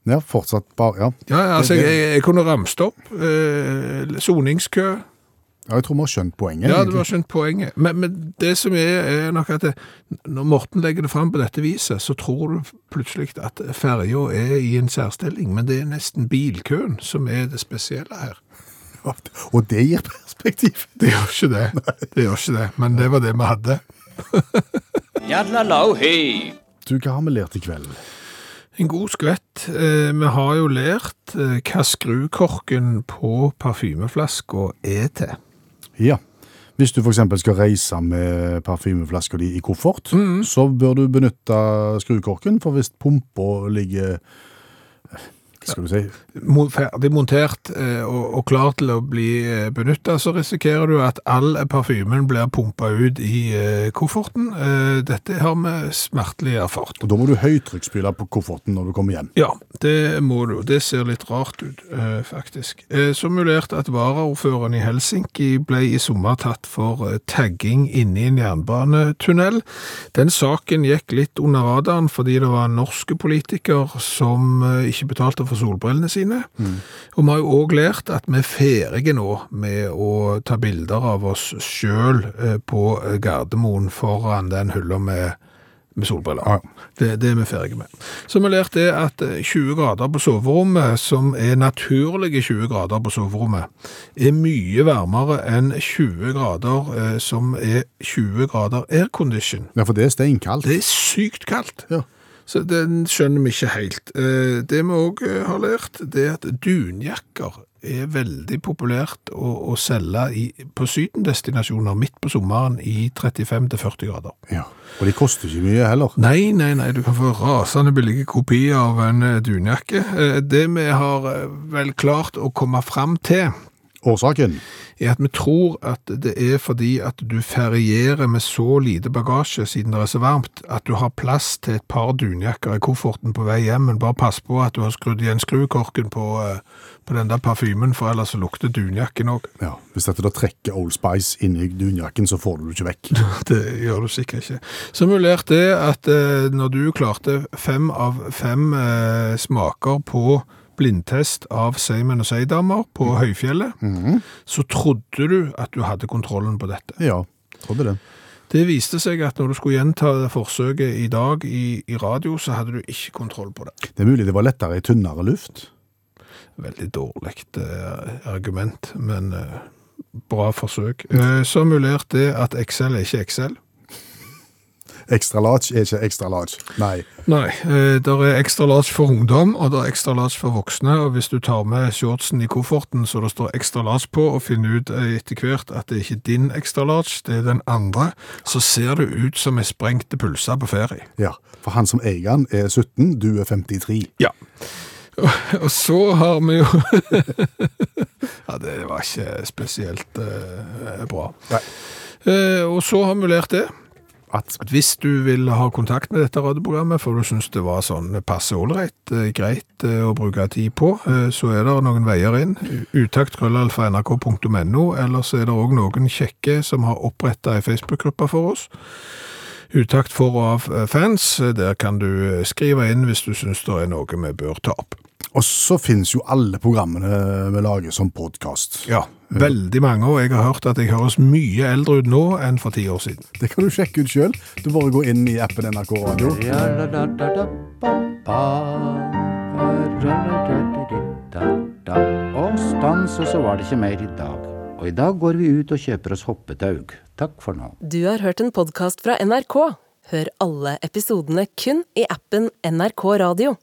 Speaker 3: Ja, fortsatt bare, ja.
Speaker 4: Ja, altså, jeg, jeg kunne ramst opp. eh, Soningskø.
Speaker 3: ja. Jeg tror vi har skjønt poenget.
Speaker 4: Ja, du
Speaker 3: egentlig.
Speaker 4: har skjønt poenget. Men, men det som er, er nok at det, når Morten legger det fram på dette viset, så tror du plutselig at ferja er i en særstilling, men det er nesten bilkøen som er det spesielle her.
Speaker 3: Og det gir perspektiv.
Speaker 4: Det gjør ikke det. Det gjør ikke det, men det var det vi hadde.
Speaker 3: Du, hva har vi lært i kveld?
Speaker 4: En god skvett. Eh, vi har jo lært eh, hva skrukorken på parfymeflaska er til.
Speaker 3: Ja. Hvis du f.eks. skal reise med parfymeflaska di i koffert, så bør du benytte skrukorken, for hvis pumpa ligger Hva skal du si?
Speaker 4: Mo- Ferdig montert eh, og, og klar til å bli benytta, så risikerer du at all parfymen blir pumpa ut i eh, kofferten. Eh, Dette har vi smertelig erfart.
Speaker 3: Og da må du høytrykksspyle på kofferten når du kommer hjem.
Speaker 4: Ja, det må du. Det ser litt rart ut, eh, faktisk. Eh, Simulert at varaordføreren i Helsinki ble i sommer tatt for eh, tagging inne i en jernbanetunnel. Den saken gikk litt under radaren fordi det var en norsk politiker som eh, ikke betalte for solbrillene sine. Og vi har jo òg lært at vi er ferdige nå med å ta bilder av oss sjøl på eh, Gardermoen foran den hylla med, med solbriller. Det, det er vi ferdige med. Så vi har lært det at eh, 20 grader på soverommet, som er naturlige 20 grader på soverommet, er mye varmere enn 20 grader eh, som er 20 grader aircondition.
Speaker 3: Ja, for det er steinkaldt.
Speaker 4: Det er sykt kaldt.
Speaker 3: Ja.
Speaker 4: Så den skjønner vi ikke helt. Eh, Det vi òg har lært, det er at dunjakker er veldig populært å, å selge i, på sydendestinasjoner midt på sommeren i 35-40 grader.
Speaker 3: Ja. Og de koster ikke mye heller.
Speaker 4: Nei, nei, nei, du kan få rasende billige kopier av en eh, dunjakke. Eh, Det vi har eh, vel klart å komme fram til,
Speaker 3: Årsaken?
Speaker 4: er at vi tror at det er fordi at du ferierer med så lite bagasje siden det er så varmt, at du har plass til et par dunjakker i kofferten på vei hjem, men bare pass på at du har skrudd igjen skrukorken på, eh, på den der parfymen, for ellers så lukter dunjakken òg.
Speaker 3: Ja. Hvis dette da trekker Old Spice inn i dunjakken, så får du det ikke vekk.
Speaker 4: Det gjør du sikkert ikke. Så mulert det at eh, når du klarte fem av fem eh, smaker på blindtest av Seimen og Seidamer på Mm-hmm. Høyfjellet, så trodde du at du hadde kontrollen på dette.
Speaker 3: Ja, trodde det.
Speaker 4: Det viste seg at når du skulle gjenta det forsøket i dag i, i radio, så hadde du ikke kontroll på det.
Speaker 3: Det er mulig det var lettere i tynnere luft.
Speaker 4: Veldig dårlig eh, argument, men eh, bra forsøk. Eh, så mulerte det at Excel er ikke Excel.
Speaker 3: Extra large er ikke extra large. Nei.
Speaker 4: Nei, eh, der er ekstra large for ungdom, og der er ekstra large for voksne, og hvis du tar med shortsen i kofferten så det står ekstra large på, og finner ut eh, etter hvert at det er ikke din ekstra large, det er den andre, så ser du ut som en sprengte pulser på ferie.
Speaker 3: Ja, For han som eier han er 17, du er 53.
Speaker 4: Ja. Og så har vi jo Ja, det var ikke spesielt eh, bra.
Speaker 3: Nei.
Speaker 4: Eh, og så har vi lært det.
Speaker 3: At
Speaker 4: at hvis du vil ha kontakt med dette radioprogrammet, for du synes det var sånn passe ålreit, eh, greit eh, å bruke tid på, eh, så er det noen veier inn. Utakt.nrk.no, eller så er det òg noen kjekke som har oppretta ei Facebook-gruppe for oss. Utakt for og av eh, fans. Der kan du eh, skrive inn hvis du synes det er noe vi bør ta opp.
Speaker 3: Og så finnes jo alle programmene vi lager som podkast.
Speaker 4: Ja, veldig mange, og jeg har hørt at jeg høres mye eldre ut nå enn for ti år siden.
Speaker 3: Det kan du sjekke ut sjøl. Du bare går inn i appen NRK Radio.
Speaker 2: Og stans, og så var det ikke mer i dag. Og i dag går vi ut og kjøper oss hoppetaug. Takk for nå.
Speaker 1: Du har hørt en podkast fra NRK. Hør alle episodene kun i appen NRK Radio.